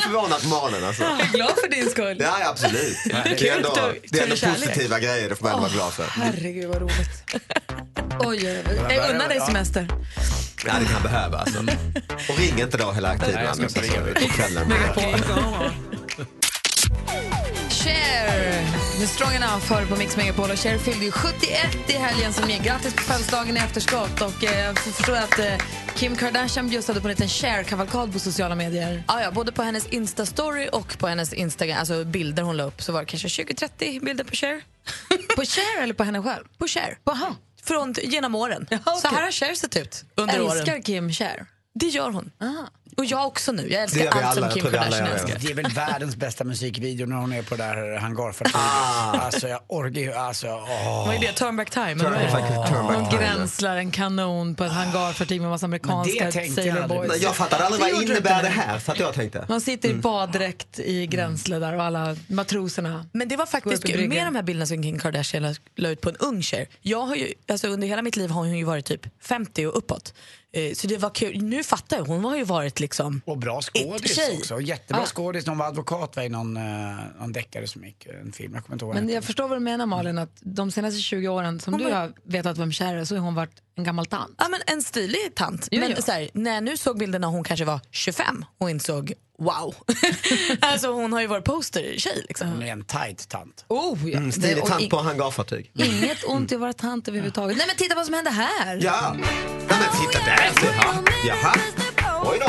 S16: förvånat manen alltså.
S4: Jag är glad för din skull.
S16: Ja, ja, absolut. Det är ändå, det är ändå positiva grejer, det får man ändå vara glad för.
S4: Herregud vad roligt. Oj, oj, oj. Jag unnar dig
S16: Ja.
S4: semester.
S16: Ja, det kan behövas. Alltså. Och ring inte då hela tiden.
S3: Mm. Nej, jag ska
S16: annars,
S3: inte ringa.
S16: alltså, på kvällen.
S2: Cher med Strong Enough hör du på Mix Megapol och Cher fyllde ju 71 i helgen som gick. Grattis på födelsedagen i efterskott och eh, jag förstår att eh, Kim Kardashian bjussade på en liten Cher-kavalkad på sociala medier.
S4: Ja, ja, både på hennes Insta-story och på hennes Instagram, alltså bilder hon la upp så var det kanske 20-30 bilder på Cher.
S2: på Cher eller på henne själv?
S4: På Cher. Från, genom åren. Så här har Cher sett ut under åren.
S2: Älskar Kim Cher?
S4: Det gör hon. Och jag också nu. Jag
S3: Det
S4: älskar
S3: gör vi
S4: allt som
S3: alla,
S4: Kim
S3: jag tror vi alla
S4: Kardashian
S3: gör det.
S4: älskar.
S3: Det är väl världens bästa musikvideo när hon är på det här hangarfartyget. Alltså jag orkar ju, alltså åh.
S4: Vad är det? Turn back time?
S3: Turn-
S4: eller vad är det?
S3: Turn back
S2: Hon
S3: time.
S2: gränslar en kanon på ett hangarfartyg med massa
S3: Men
S2: amerikanska
S3: det tänkte jag
S2: sailor
S3: aldrig.
S2: boys.
S16: Nej, jag fattade aldrig vad
S2: Det gjorde du
S16: innebär
S2: inte.
S16: det här, så att jag tänkte. Mm.
S2: Man sitter i baddräkt i Gränsle där och alla matroserna.
S4: Men det
S2: Gå
S4: var
S2: upp i
S4: faktiskt
S2: bryggan.
S4: med de här bilderna som Kim Kardashian la- la ut på en ung tjej. Jag har ju, alltså under hela mitt liv har hon ju varit typ 50 och uppåt. Eh, Så det var kul. Nu fattar jag, hon har ju varit liksom...
S3: Och bra skådis också. Jättebra skådis. Hon var advokat va, i någon, eh, någon deckare som gick, eh, en film. Jag kommer inte ihåg vad
S2: Men
S3: den
S2: jag förstår vad du menar Malin, att de senaste 20 åren som du har vetat vem Cher är så har hon varit en gammal tant.
S4: Ja men en stilig tant.
S2: Jo,
S4: men
S2: jo.
S4: Så här, när jag nu såg bilden när hon kanske var 25 och insåg wow. alltså hon har ju varit poster-tjej liksom.
S3: Hon är en tight tant.
S2: Oh, ja.
S16: Mm,
S2: Det-
S16: stilig
S2: och
S16: tant
S2: in-
S16: på hangarfartyg. Mm.
S2: Inget ont i att vara tant överhuvudtaget. Nej men titta vad som hände här!
S16: Ja! Nej, men titta där! Alltså, Jaha. Jaha. Oj då.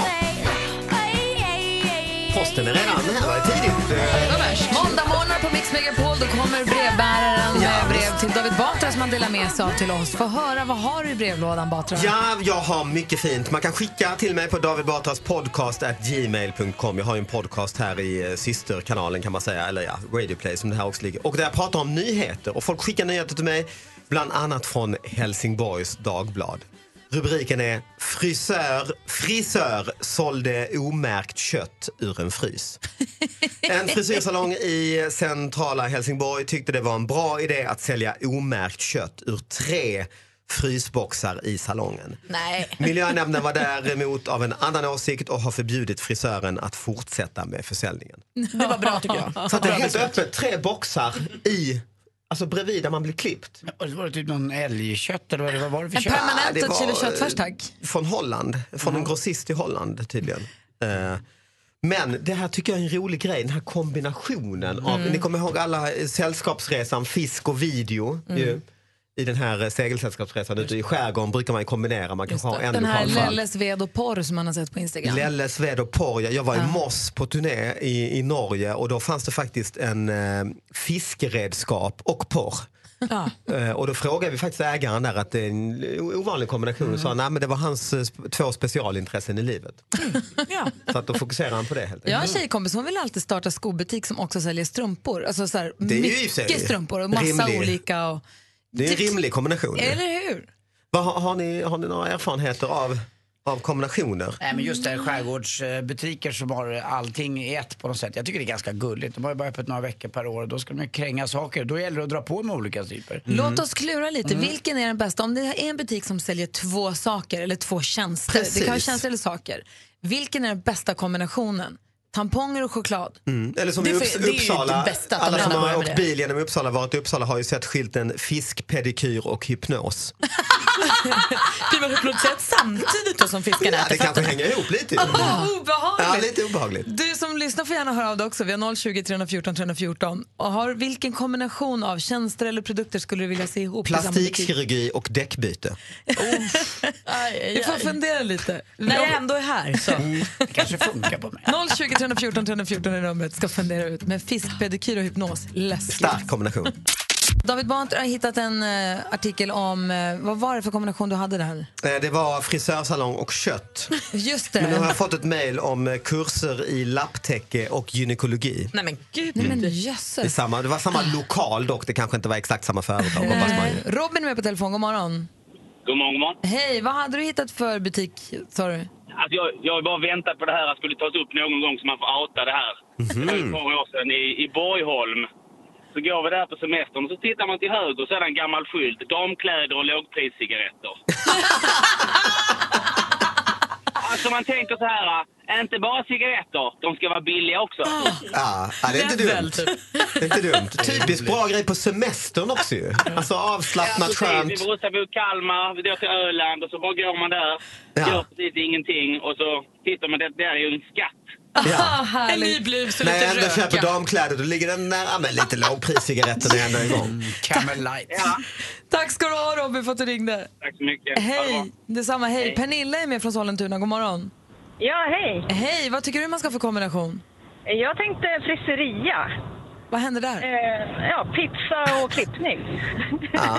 S16: Posten är redan här, var det tidigt?
S2: Det var
S16: Eh,
S2: värst. Måndag morgon på Mix Megapol, då kommer brevbäraren med brev till David Batra som han delar med sig av till oss. Få höra, vad har du i brevlådan Batra?
S16: Ja, jag har mycket fint. Man kan skicka till mig på David Batras podcast at gmail.com. Jag har ju en podcast här i eh, systerkanalen kan man säga, eller ja, Radioplay som det här också ligger. Och där jag pratar om nyheter och folk skickar nyheter till mig, bland annat från Helsingborgs Dagblad. Rubriken är Frisör, frisör sålde omärkt kött ur en frys. En frisyrsalong i centrala Helsingborg tyckte det var en bra idé att sälja omärkt kött ur tre frysboxar i salongen.
S4: Nej.
S16: Miljönämnden var däremot av en annan åsikt och har förbjudit frisören att fortsätta med försäljningen.
S4: Det var bra tycker jag.
S16: Så att Alltså, det är helt öppet, tre boxar i, alltså bredvid där man blir klippt.
S3: Och så var det typ någon älgkött eller vad det- vad var det för
S16: En
S3: kött?
S16: permanent Ja, det ett var, kilo köttfärs, eh,
S2: tack.
S16: Från Holland, från en grossist i Holland tydligen. Eh, Men det här tycker jag är en rolig grej, den här kombinationen av,
S4: Mm.
S16: ni kommer ihåg alla eh, sällskapsresan, fisk och video.
S4: Mm.
S16: Ju. i den här eh, segelsällskapsresan ute i skärgården brukar man ju kombinera. Man kan ha en
S2: Den här
S16: lokal för allt.
S2: Lelles ved och porr som man har sett på Instagram.
S16: Lelle Sved och Porja. Jag var i Moss på turné i, i Norge och då fanns det faktiskt en eh, fiskeredskap och porr.
S2: Ja.
S16: Eh, och då frågade vi faktiskt ägaren där att det är en o- ovanlig kombination och sa
S2: Mm.
S16: nej men det var hans eh, sp- två specialintressen i livet.
S2: Mm.
S16: Så att då fokuserar han på det helt
S2: Jag har en tjejkompis hon vill alltid starta skobutik som också säljer strumpor. Alltså så här,
S16: Det är ju i och för sig
S2: mycket strumpor och massa
S16: rimlig-
S2: olika. Och,
S16: Det är en rimlig kombination. ju.
S2: eller hur?
S16: Vad, har, har, ni, har ni några erfarenheter av, av kombinationer?
S3: Nej, men just det här skärgårdsbutiker som har allting i ett på något sätt. Jag tycker det är ganska gulligt. De har ju bara öppet några veckor per år och då ska de ju kränga saker. Då gäller det att dra på med olika typer.
S2: Låt oss klura lite.
S3: Mm.
S2: Vilken är den bästa? Om det är en butik som säljer två saker eller två tjänster. Det kan vara
S16: Precis.
S2: tjänster eller saker. Vilken är den bästa kombinationen? Tamponger och choklad?
S16: Mm. Eller som
S2: Det
S16: i
S2: är för-
S16: Upps-
S2: det är ju
S16: Uppsala,
S2: det bästa att de
S16: alla som
S2: gärna
S16: har
S2: börjar
S16: åkt
S2: med det.
S16: bil genom Uppsala varit i Uppsala har ju sett skylten fisk, pedikyr och hypnos.
S4: Blir man hypnotiserad samtidigt då som fiskarna
S16: Ja, det kanske hänger ihop lite. ju.
S2: Åh, obehagligt.
S16: Ja, lite obehagligt.
S2: Du som lyssnar får gärna höra av dig också. Vi har 020 314 314. Och har, vilken kombination av tjänster eller produkter skulle du vilja se ihop? i samma butik?
S16: Plastikkirurgi och däckbyte.
S2: Du får fundera lite.
S4: När jag ändå är här
S2: Mm.
S4: så.
S3: Det kanske funkar på mig.
S2: 020 314 314 är numret. Ska fundera ut. Men fisk, pedikyr och hypnos. Läskigt.
S16: Stark kombination.
S2: David Batra har hittat en eh, artikel om, eh, vad var det för kombination du hade där?
S16: Eh, Det var frisörsalong och kött.
S2: Just det.
S16: Men nu har jag fått ett mejl om eh, kurser i lapptäcke och gynekologi.
S4: Nej men gud.
S2: Nej, men
S16: Det, är
S2: jösses. Ah.
S16: samma, det var samma lokal dock, det kanske inte var exakt samma företag. hoppas man ju.
S2: Eh, Robin är med på telefon, god morgon.
S17: God morgon, god morgon.
S2: Hej, vad hade du hittat för butik? Sa du?
S17: Alltså jag, jag har bara väntat på det här att skulle tas upp någon gång så man får outa det här. Det
S16: Mhm.
S17: var ju ett par år sedan i, i Borgholm. Så går vi där på semestern och så tittar man till höger och så är det en gammal skylt. Damkläder och lågpriscigaretter. alltså man tänker så här, äh, inte bara cigaretter, de ska vara billiga också.
S16: Ja, ah, ja, det är inte
S17: Rebel,
S16: dumt.
S4: typ.
S16: Det är inte dumt. Typiskt bra grej på semestern också ju. Alltså avslappnat,
S17: precis.
S16: skönt.
S17: Vi rusar mot Kalmar, vi går till Öland och så bara går man där. Gör precis ingenting och så tittar man, det där är ju en skatt.
S2: Ah, Ja.
S4: En ny blus och
S16: När jag
S4: lite
S16: ändå köper
S4: röka.
S16: damkläder då ligger den nära men lite lågpriscigaretter när jag ändå är igång.
S3: Camel light.
S2: Tack ska du ha Robin för att du ringde.
S17: Tack så mycket.
S2: Hej, detsamma. Hej. Pernilla är med från Sollentuna, god morgon.
S18: Ja, hej.
S2: Hej, vad tycker du man ska ha för kombination?
S18: Jag tänkte frisseria.
S2: Vad händer där?
S18: Eh, ja, pizza och klippning.
S16: Ja.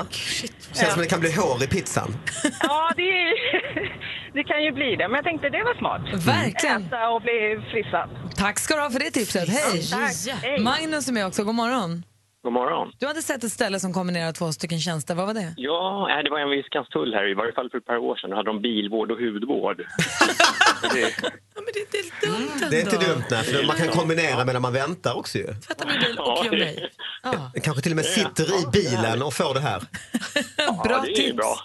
S16: Känns som det kan bli hår i pizzan.
S18: ja, det, är, det kan ju bli det. Men jag tänkte det var
S16: Mm.
S18: smart.
S2: Verkligen.
S18: Äta och bli frissad.
S2: Tack ska du ha för det tipset. Hej!
S18: Tack. Hej.
S2: Magnus är med också, god morgon.
S19: God morgon.
S2: Du hade sett ett ställe som kombinerar två stycken tjänster, vad var det?
S19: Ja, nej, det var en vid Skanstull här, i varje fall för ett par år sedan. Då hade de bilvård och hudvård. det,
S2: Mm.
S16: Det är inte dumt nej, för man kan kombinera medan man väntar också ju.
S19: ja,
S2: gör mig.
S16: Kanske till och med sitter i bilen och får det här.
S2: Bra
S19: det är
S2: tips.
S19: bra.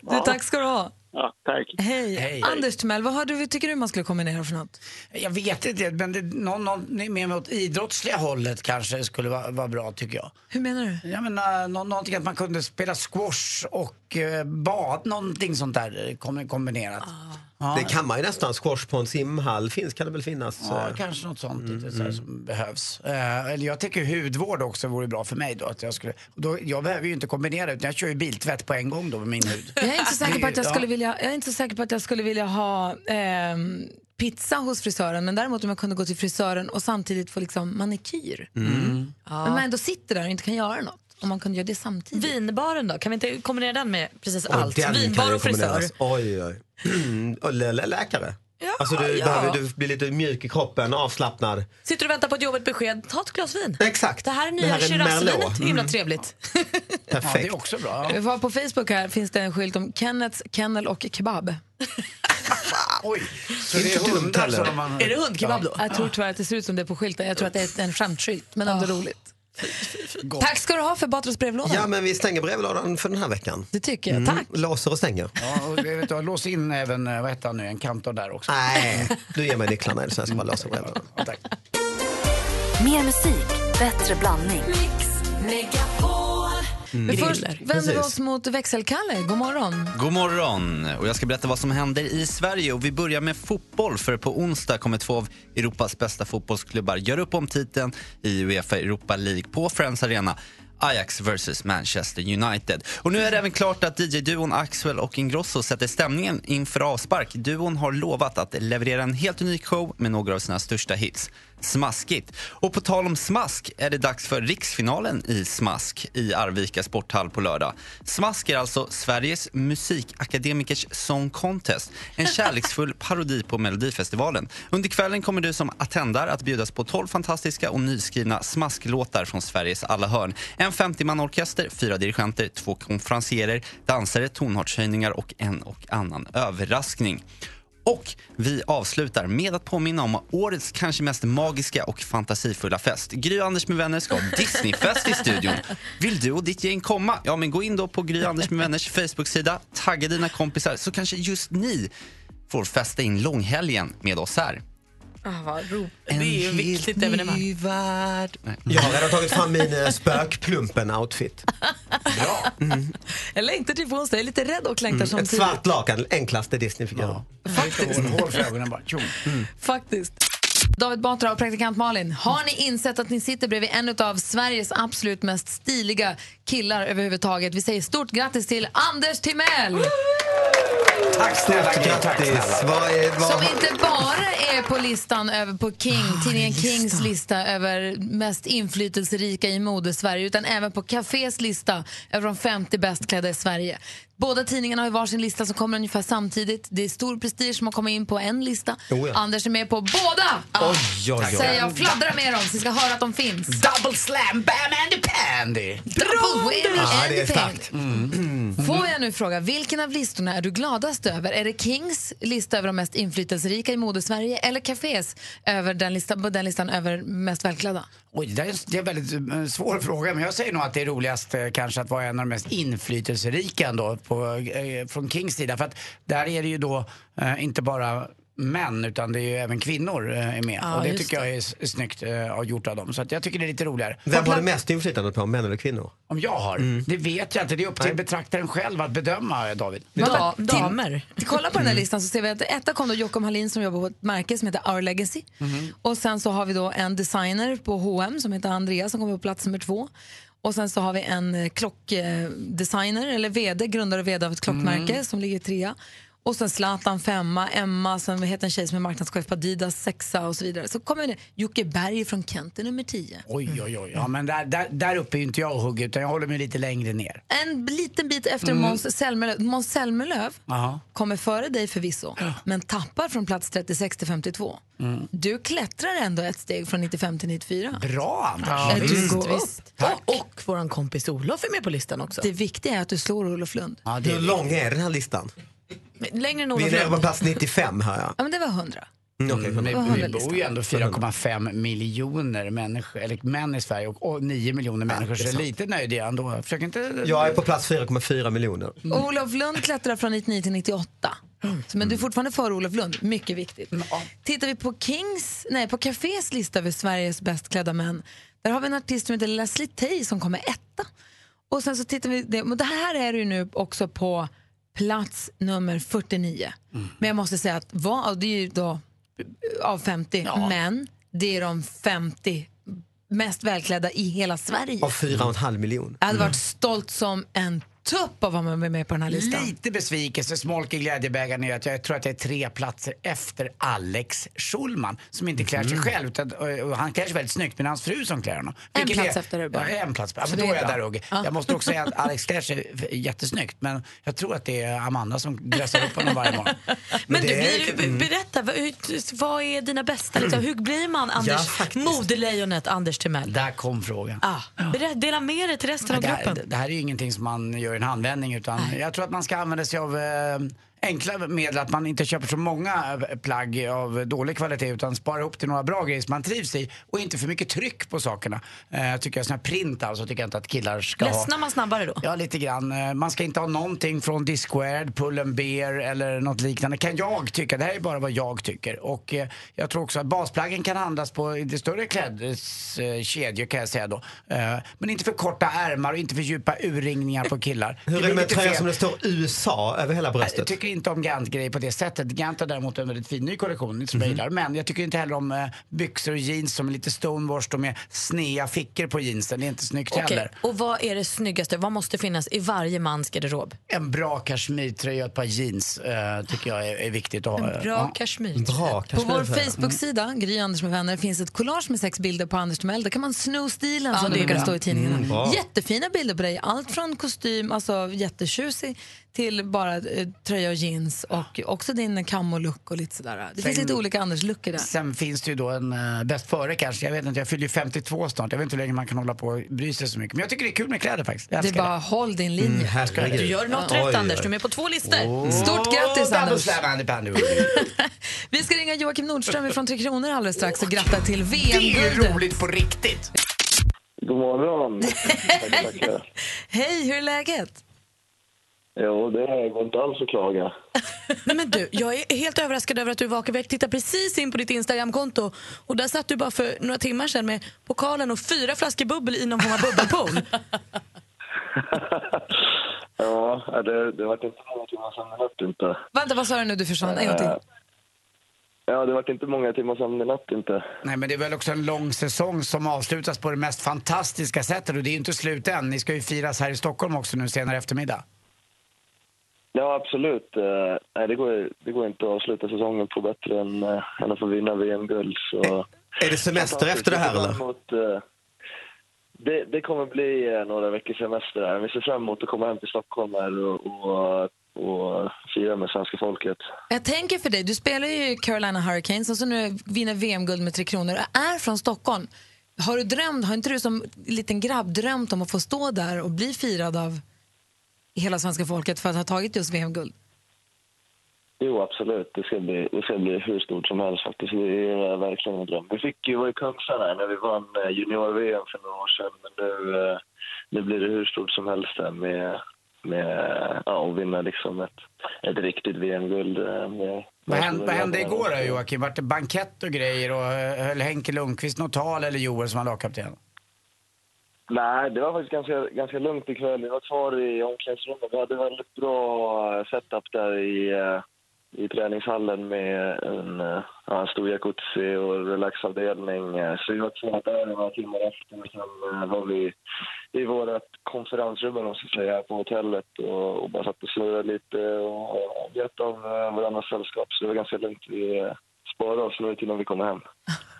S2: Du, tack ska du ha.
S19: Ja, tack.
S2: Hej.
S3: Hej.
S2: Anders Timell, vad har du, vad tycker du man skulle kombinera för något?
S3: Jag vet inte, men det, någon, någon är mer åt idrottsliga hållet kanske skulle vara, vara bra tycker jag.
S2: Hur menar du?
S3: Jag menar, nå, någonting att man kunde spela squash och eh, bad, någonting sånt där eh, kom- kombinerat.
S16: Ah. Det kan man ju nästan. Squash på en simhall finns, kan det väl finnas?
S3: Ja,
S16: eh, mm.
S3: kanske något sånt lite så här, som behövs. Eh, eller jag tycker hudvård också vore bra för mig då. Att jag, skulle, och då. jag behöver ju inte kombinera utan jag kör ju biltvätt på en gång då med min hud.
S2: Jag är inte så säker på att jag
S3: Ja.
S2: skulle vilja, jag är inte så säker på att jag skulle vilja ha ehm, pizza hos frisören, men däremot om jag kunde gå till frisören och samtidigt få liksom manikyr.
S19: Mm.
S2: Men man ändå sitter där och inte kan göra något. Om man kunde göra det samtidigt.
S4: Vinbaren då? Kan vi inte kombinera den med precis
S16: Och
S4: allt?
S16: den kan
S4: Vinbar
S16: ju
S4: och frisör.
S16: kombineras. Oj, oj. och lä- lä- läkare. alltså du,
S4: ja.
S16: behöver, du blir lite mjuk i kroppen, avslappnad.
S4: Sitter du och väntar på ett jobbigt besked, ta ett glas vin.
S16: Exakt.
S4: Det här är
S16: Det
S4: nya
S16: här är Merlot.
S4: Shirazvinet, himla
S16: Mm.
S4: trevligt.
S16: Perfekt.
S3: det är också bra.
S2: Vi har på Facebook här finns det en skylt om Kennets kennel och kebab.
S3: Så det är hundar som man...
S2: Jag tror tyvärr att det ser ut som det är på skylten. Jag tror att det är en skämtskylt, men
S16: Ah.
S2: ändå roligt.
S16: Gott.
S2: Tack ska du ha för Batras brevlåda.
S16: Ja, men vi stänger brevlådan för den här veckan. Mm.
S2: Det tycker jag. Tack.
S16: Låser och stänger.
S3: Ja, och det- vet du, lås in även, eh, vad heter han nu, en kantor där också.
S16: Nej, du ger mig nycklarna eller så jag ska bara låsa brevlådan.
S8: Mer musik, bättre blandning. Mix
S2: Megapol.
S20: Mm.
S2: Men först
S20: Griller.
S2: vänder vi
S20: Precis.
S2: oss mot växelkalle. God morgon.
S20: God morgon! Och jag ska berätta vad som händer i Sverige. Och vi börjar med fotboll, för på onsdag kommer två av Europas bästa fotbollsklubbar göra upp om titeln i Uefa Europa League på Friends Arena. Ajax vs Manchester United. Och nu är det även klart att DJ-duon Axwell och Ingrosso sätter stämningen inför avspark. Duon har lovat att leverera en helt unik show med några av sina största hits. Smaskigt. Och på tal om smask är det dags för riksfinalen i smask i Arvika sporthall på lördag. Smask är alltså Sveriges musikakademikers song contest. En kärleksfull parodi på Melodifestivalen. Under kvällen kommer du som attendar att bjudas på 12 fantastiska och nyskrivna smasklåtar från Sveriges alla hörn. En 50-mannaorkester, fyra dirigenter, två konferensierer, dansare, tonartshöjningar och en och annan överraskning. Och vi avslutar med att påminna om årets kanske mest magiska och fantasifulla fest. Gry och Anders med vänner ska ha Disneyfest i studion. Vill du och ditt gäng komma? Ja, men gå in då på Gry och Anders med vänners Facebook-sida, tagga dina kompisar så kanske just ni får festa in långhelgen med oss här.
S21: Ah, vad ro. Det är ju viktigt evenemang.
S16: Jag har redan tagit fram min eh, spökplumpen-outfit.
S2: Jag längtar till på onsdag, jag är lite rädd och längtar
S16: Mm. Ett
S2: samtidigt.
S16: svart lakan, enklaste Disney-figuren.
S2: Faktiskt.
S3: Hål för ögonen bara. Tjong.
S2: Faktiskt. David Batra och praktikant Malin, har ni insett att ni sitter bredvid en av Sveriges absolut mest stiliga killar överhuvudtaget? Vi säger stort grattis till Anders Timell!
S16: Tack snälla, grattis. Vad är, vad...
S2: Som inte bara är på listan över på King,
S16: Ah,
S2: tidningen Kings lista över mest inflytelserika i mode-Sverige utan även på Cafés lista över de 50 bäst klädda i Sverige. Båda tidningarna har ju varsin lista som kommer ungefär samtidigt. Det är stor prestige som har kommit in på en lista.
S16: Oh ja.
S2: Anders är med på båda!
S16: Oj, oj, oj.
S2: Så jag fladdrar med dem så ni ska höra att de finns.
S3: Double slam, bam and pandy!
S2: Double whammy
S16: Ja,
S2: and
S16: det är
S2: the pain.
S16: starkt. Mm.
S2: Får jag nu fråga, vilken av listorna är du gladast över? Är det Kings lista över de mest inflytelserika i mode-Sverige eller Cafés över den listan, på den listan över mest välklädda?
S3: Oj, det där är en- det är en väldigt eh, svår fråga, men jag säger nog att det är roligast eh, kanske att vara en av de mest inflytelserika ändå på, eh, från Kings sida. För att där är det ju då eh, inte bara män utan det är ju även kvinnor eh, är med.
S16: Ja,
S3: och det
S16: just
S3: tycker jag är s- snyggt eh, gjort av dem. Så att jag tycker det är lite roligare.
S16: Vem har du mest inflytande på, män eller kvinnor? Mm.
S3: Om jag har? Det vet jag inte. Det är upp till betraktaren själv att bedöma, eh, David.
S2: Vänta, till- till- Kolla på den här listan så ser vi att etta kom då Jockum Hallin som jobbar på ett märke som heter Our Legacy. Och sen så har vi då en designer på H&M som heter Andreas som kommer på plats nummer två. Och sen så har vi en eh, klockdesigner, eller vd, grundare och vd av ett klockmärke
S4: Mm.
S2: som ligger trea. Och sen Zlatan femma, Emma, sen heter en tjej som är marknadschef på Adidas sexa och så vidare. Så kommer det Jocke Berg från Kent är nummer tio.
S3: Oj, oj, oj. Ja, men där, där, där uppe är ju inte jag och hugger utan jag håller mig lite längre ner.
S2: En liten bit efter
S3: Mm.
S2: Måns Zelmerlöw. Måns Zelmerlöw
S3: Jaha.
S2: kommer före dig förvisso, men tappar från plats 36 till 52.
S3: Mm.
S2: Du klättrar ändå ett steg från 95 till 94.
S3: Bra, Anders.
S2: Ja,
S4: Ja,
S2: du
S4: visst,
S2: går
S4: visst.
S2: upp.
S4: Och, och vår kompis Olof är med på listan också.
S2: Det viktiga är att du slår Olof Lund.
S16: Hur lång är den här listan?
S2: Längre än
S16: Vi är
S2: Olof
S16: nere på
S2: Lund.
S16: plats 95 här ja.
S2: Ja, men det var 100.
S16: Mm, okej, förlåt.
S2: Vad har
S3: Men vi
S2: vi
S3: bor ju
S2: listan?
S3: ändå 4,5 miljoner människor, eller män i Sverige och, och 9 miljoner människor.
S16: det är
S3: Så
S16: sant.
S3: lite nöjd är jag ändå. Försök inte...
S16: Jag är på plats 4,4 miljoner.
S2: Olof Lund klättrar från 99 till 98. Så, men du är fortfarande före Olof Lund, mycket viktigt. Tittar vi på Kings, nej på Cafés lista över Sveriges bäst klädda män, där har vi en artist som heter Leslie Tay som kommer etta. Och sen så tittar vi, det, men det här är ju nu också på plats nummer 49. Men jag måste säga att vad, och det är ju då eh, av 50, men det är de 50 mest välklädda i hela Sverige.
S16: Av 4,5 miljoner.
S2: Jag hade varit stolt som en tupp av att vara med på den här listan.
S3: Lite besvikelse smolk i glädjebägaren är att jag tror att jag är tre platser efter Alex Schulman som inte klär sig
S2: Mm.
S3: själv. Utan, och, och han klär sig väldigt snyggt men hans fru som klär honom.
S2: En plats
S3: är,
S2: efter det bara.
S3: Ja, en plats. Ja,
S2: Så
S3: men
S2: det
S3: då
S2: är
S3: är jag
S2: bra.
S3: där Ugge.
S2: Ja.
S3: Jag måste också säga att Alex klär sig f- jättesnyggt men jag tror att det är Amanda som dressar upp honom varje morgon.
S4: Men du, blir,
S3: mm.
S4: berätta, vad, hur- vad är dina bästa? Liksom, hur blir man Anders, modelejonet Anders Timell?
S3: Där kom frågan.
S4: Ah, berätt, dela med dig till resten av
S3: det, här,
S4: gruppen.
S3: det- det här är ju ingenting som man gör i en handvändning utan jag tror att man ska använda sig av eh, enkla medel, att man inte köper så många eh, plagg av dålig kvalitet utan sparar ihop till några bra grejer som man trivs i och inte för mycket tryck på sakerna. Eh, jag tycker jag sån här print alltså, tycker jag inte att killar ska ha.
S4: Ledsnar man snabbare då?
S3: Ja, lite grann. Eh, Man ska inte ha någonting från Discord, Pull and Bear eller något liknande. Kan jag tycka. Det här är bara vad jag tycker. Och eh, jag tror också att basplaggen kan handlas på lite större klädeskedjor kan jag säga då. Eh, Men inte för korta ärmar och inte för djupa urringningar på killar.
S16: Hur är
S3: blir
S16: det med
S3: lite
S16: tröja
S3: fel.
S16: som det står USA över hela bröstet?
S3: Jag tycker tycker inte om Gant-grejer på det sättet. Gant har däremot en väldigt fin ny kollektion,
S16: Mhm.
S3: lite som jag gillar. Men jag tycker inte heller om eh, byxor och jeans som är lite stonewashed och med snea fickor på jeansen. Det är inte snyggt
S4: Okej,
S3: heller.
S4: och vad är det snyggaste? Vad måste finnas i varje mans garderob?
S3: En bra kashmirtröja och ett par jeans eh, tycker jag är, är viktigt att ha.
S4: En bra kashmirtröja.
S3: Bra
S2: På vår
S3: kashmirtröja.
S2: Facebook-sida, Gry Anders med vänner, finns ett collage med sex bilder på Anders Timell. Där kan man sno stilen
S4: Ja,
S2: som
S4: det
S2: det
S4: är
S2: brukar
S4: bra.
S2: stå i tidningarna.
S4: Mm, bra.
S2: Jättefina bilder på dig. Allt från kostym, alltså jättetjusig, till bara eh, tröja och jeans och också din kammo-look och lite sådär. Det finns
S3: Sen-
S2: lite olika Anders-looker där.
S3: Sen finns det ju då en eh, bäst före kanske. Jag vet inte, jag fyller ju 52 snart. Jag vet inte hur länge man kan hålla på och bry sig så mycket. Men jag tycker det är kul med kläder faktiskt. Jag
S2: Det är
S3: älskar
S2: bara håll din linje.
S3: Mm, herregud.
S4: Du gör något
S3: Oj,
S4: rätt
S3: oj.
S4: Anders, du är med på två listor.
S3: Åh,
S2: Stort grattis,
S3: double
S2: Anders.
S3: slam, Andy Pandy.
S2: Vi ska ringa Joakim Nordström från Tre Kronor alldeles strax och gratta till
S3: Det är ju
S2: VM-guldet.
S3: roligt på riktigt.
S22: God morgon. Tack, tackar.
S2: Hej, hur är läget?
S22: Jo, det går inte alls att klaga.
S4: Nej, men du, jag är helt överraskad över att du är vaken. Jag tittade precis in på ditt Instagramkonto och där satt du bara för några timmar sedan med pokalen och fyra flaskor bubbel i någon form av bubbelpool.
S22: Ja, det, det vart inte många timmar sömn i natt inte.
S2: Vänta, vad sa du nu? Du försvann. En gång till.
S22: Eh, Ja, det vart inte många timmar sömn i natt inte.
S3: Nej, men det är väl också en lång säsong som avslutas på det mest fantastiska sättet. Och det är ju inte slut än. Ni ska ju firas här i Stockholm också nu senare eftermiddag.
S22: Ja, absolut. Eh, Nej, det går, det går inte att avsluta säsongen på bättre än, eh, än att få vinna VM-guld. Så...
S16: Är det semester efter det här eller?
S22: Mot, eh, det, det kommer bli eh, några veckors semester här. Vi ser fram emot att komma hem till Stockholm här och, och, och fira med svenska folket.
S2: Jag tänker för dig, du spelar ju Carolina Hurricanes och så nu vinner VM-guld med Tre Kronor och är från Stockholm. Har du drömt, har inte du som liten grabb drömt om att få stå där och bli firad av hela svenska folket för att ha tagit just VM-guld?
S22: Jo, absolut. Det ska bli, det ska bli hur stort som helst faktiskt. Det är verkligen en dröm. Vi fick ju vara i Kungsan här när vi vann eh, junior-VM för några år sedan. Men nu, eh, nu blir det hur stort som helst där med, med ja, att vinna liksom ett, ett riktigt VM-guld. eh, med-
S3: Vad
S22: med-
S3: hände,
S22: med-
S3: vad hände
S22: med-
S3: igår då, Joakim? Vart det bankett och grejer? Och eh, höll Henke Lundqvist något tal eller Joel som var lagkapten?
S22: Nej, det var faktiskt ganska, ganska lugnt ikväll. Vi var kvar i omklädningsrummet. Vi hade väldigt bra eh, setup där i, eh, i träningshallen med en, eh, ja, en stor jacuzzi och relaxavdelning. Eh, Så vi var kvar där några timmar efter. Och Sen eh, var vi i vårt konferensrum, eller vad man ska säga, på hotellet och, och bara satt och slurrade lite och eh, njöt av eh, varandras sällskap. Så det var ganska lugnt. Vi eh, sparade oss nu till när vi kommer hem.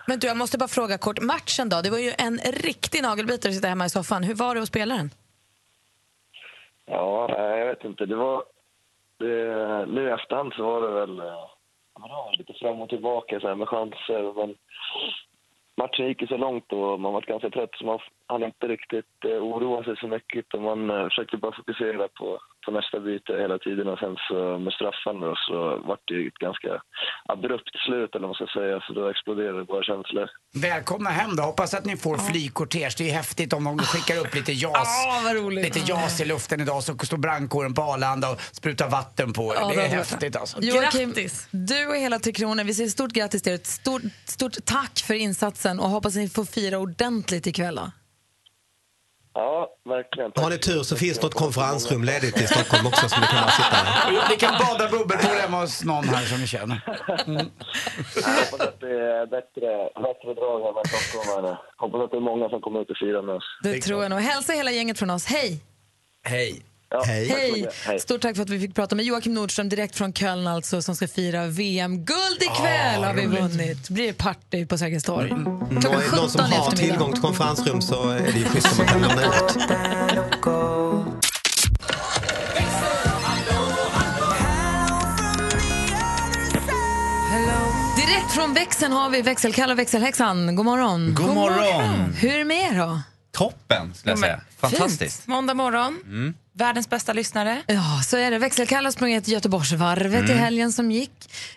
S4: Men du, jag måste bara fråga kort. Matchen då? Det var ju en riktig nagelbitare att sitta hemma i soffan. Hur var det att spela den?
S22: Ja, nej, jag vet inte. Det var... Det, nu i efterhand så var det väl eh, ja, men det var lite fram och tillbaka så här, med chanser. Men matchen gick ju så långt och man var ganska trött så man hann inte riktigt eh, oroa sig så mycket. Utan man eh, försökte bara fokusera på, på nästa byte hela tiden. Och sen så med straffarna då, så var det ju ett ganska abrupt slut eller vad man ska säga. Så då exploderade våra känslor.
S3: Välkomna hem då. Hoppas att ni får flygkortege. Det är häftigt om de skickar upp lite JAS. Lite JAS i luften idag så står brandkåren på Arlanda och sprutar vatten på er.
S2: Ja,
S3: det
S2: det
S3: är
S2: var-
S3: häftigt alltså.
S2: Joakim, du och hela Tre Kronor, vi säger stort grattis till er. Ett stort, stort tack för insatsen och hoppas ni får fira ordentligt ikväll. Då.
S22: Ja, verkligen.
S16: Har ni tur så finns något konferensrum ledigt i Stockholm också som ni kan sitta i.
S3: Ni kan bada bubbelpool hemma hos någon här som ni känner.
S22: Jag hoppas att det är bättre, bättre drag här med stockholmarna. Hoppas att det är många som kommer ut och firar med oss.
S2: Det, tror jag nog. Hälsa hela gänget från oss. Hej!
S22: Hej! Ja,
S2: Hej.
S22: tack så mycket. Hej.
S2: Stort tack för att vi fick prata med Joakim Nordström direkt från Köln alltså som ska fira VM-guld ikväll
S16: Ah,
S2: har vi
S16: roligt.
S2: vunnit. blir det party på Sergels torg.
S3: Mm.
S16: Någon, någon som
S2: 17 i
S16: har
S2: eftermiddag.
S16: tillgång till konferensrum så är det ju schysst om man kan lämna ut.
S2: Direkt från växeln har vi växelkall och växelhäxan. Mm. God morgon.
S20: God morgon.
S2: Hur är det med er då?
S20: Toppen, skulle jag säga. Fantastiskt.
S23: Måndag morgon,
S20: Mm.
S23: världens bästa lyssnare.
S2: Ja, så är det. Växelkall har sprungit Göteborgsvarvet i
S23: Mm.
S2: helgen som gick.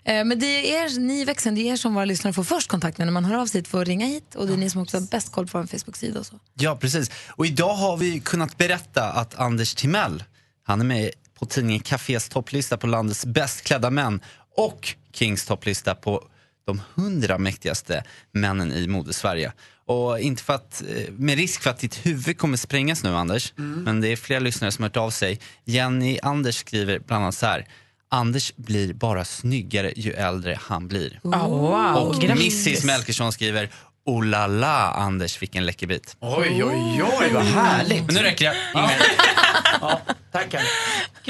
S2: Eh, Men det är er, ni i växeln, det är er som våra lyssnare får först kontakt med när man hör av sig får ringa hit och det är ni som också har bäst koll på vår Facebook-sida och så.
S20: Ja, precis. Och idag har vi kunnat berätta att Anders Timell, han är med på tidningen Cafés topplista på landets bäst klädda män och Kings topplista på de hundra mäktigaste männen i modesverige. Och inte för att, eh, med risk för att ditt huvud kommer sprängas nu Anders, men det är flera lyssnare som har hört av sig. Jenny Anders skriver bland annat så här. Anders blir bara snyggare ju äldre han blir.
S5: Ah, wow,
S20: Och
S5: grattis.
S20: Mrs Melkersson skriver Oh la la Anders, vilken läckerbit.
S3: Oj, oj, oj, vad härligt.
S20: Men nu räcker det.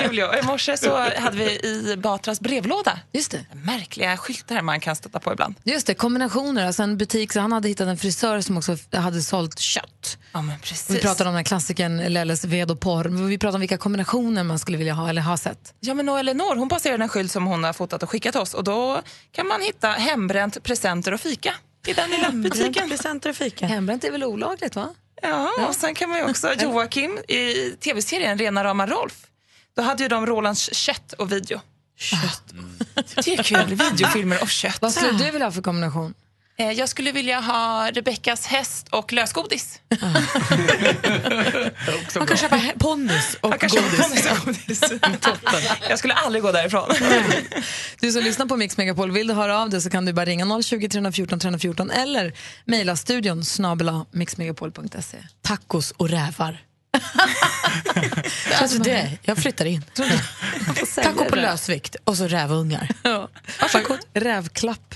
S23: Kul ja. I morse så hade vi i Batras brevlåda
S2: Just det.
S23: märkliga skyltar man kan stöta på ibland.
S2: Just det, kombinationer. Alltså en butik, så han hade hittat en frisör som också hade sålt kött.
S23: Ja, men precis.
S2: Vi pratade om den här klassikern Lelles ved och porr. Men Vi pratade om vilka kombinationer man skulle vilja ha eller ha sett.
S23: Ja, men och Eleanor hon passerar en skylt som hon har fotat och skickat oss och då kan man hitta hembränt, presenter och fika i den lilla butiken.
S4: Presenter och fika.
S2: Hembränt är väl olagligt va?
S23: Ja, och sen kan man ju också Joakim i tv-serien Rena rama Rolf. Då hade ju de Rolands kött och video. Kött. Det är kul. Videofilmer och kött.
S2: Vad skulle du vilja ha för kombination?
S23: Eh, Jag skulle vilja ha Rebeckas häst och lösgodis.
S4: Man kan köpa he- ponnys och
S23: Jag kan köpa
S4: godis.
S23: ponnys och godis. Jag skulle aldrig gå därifrån.
S2: Du som lyssnar på Mix Megapol, vill du höra av dig så kan du bara ringa 020 314 314 eller mejla studion snabela mixmegapol.se.
S4: Tacos och rävar. alltså det, jag flyttar in. Taco på lösvikt och så rävungar.
S2: Varsågod. Rävklapp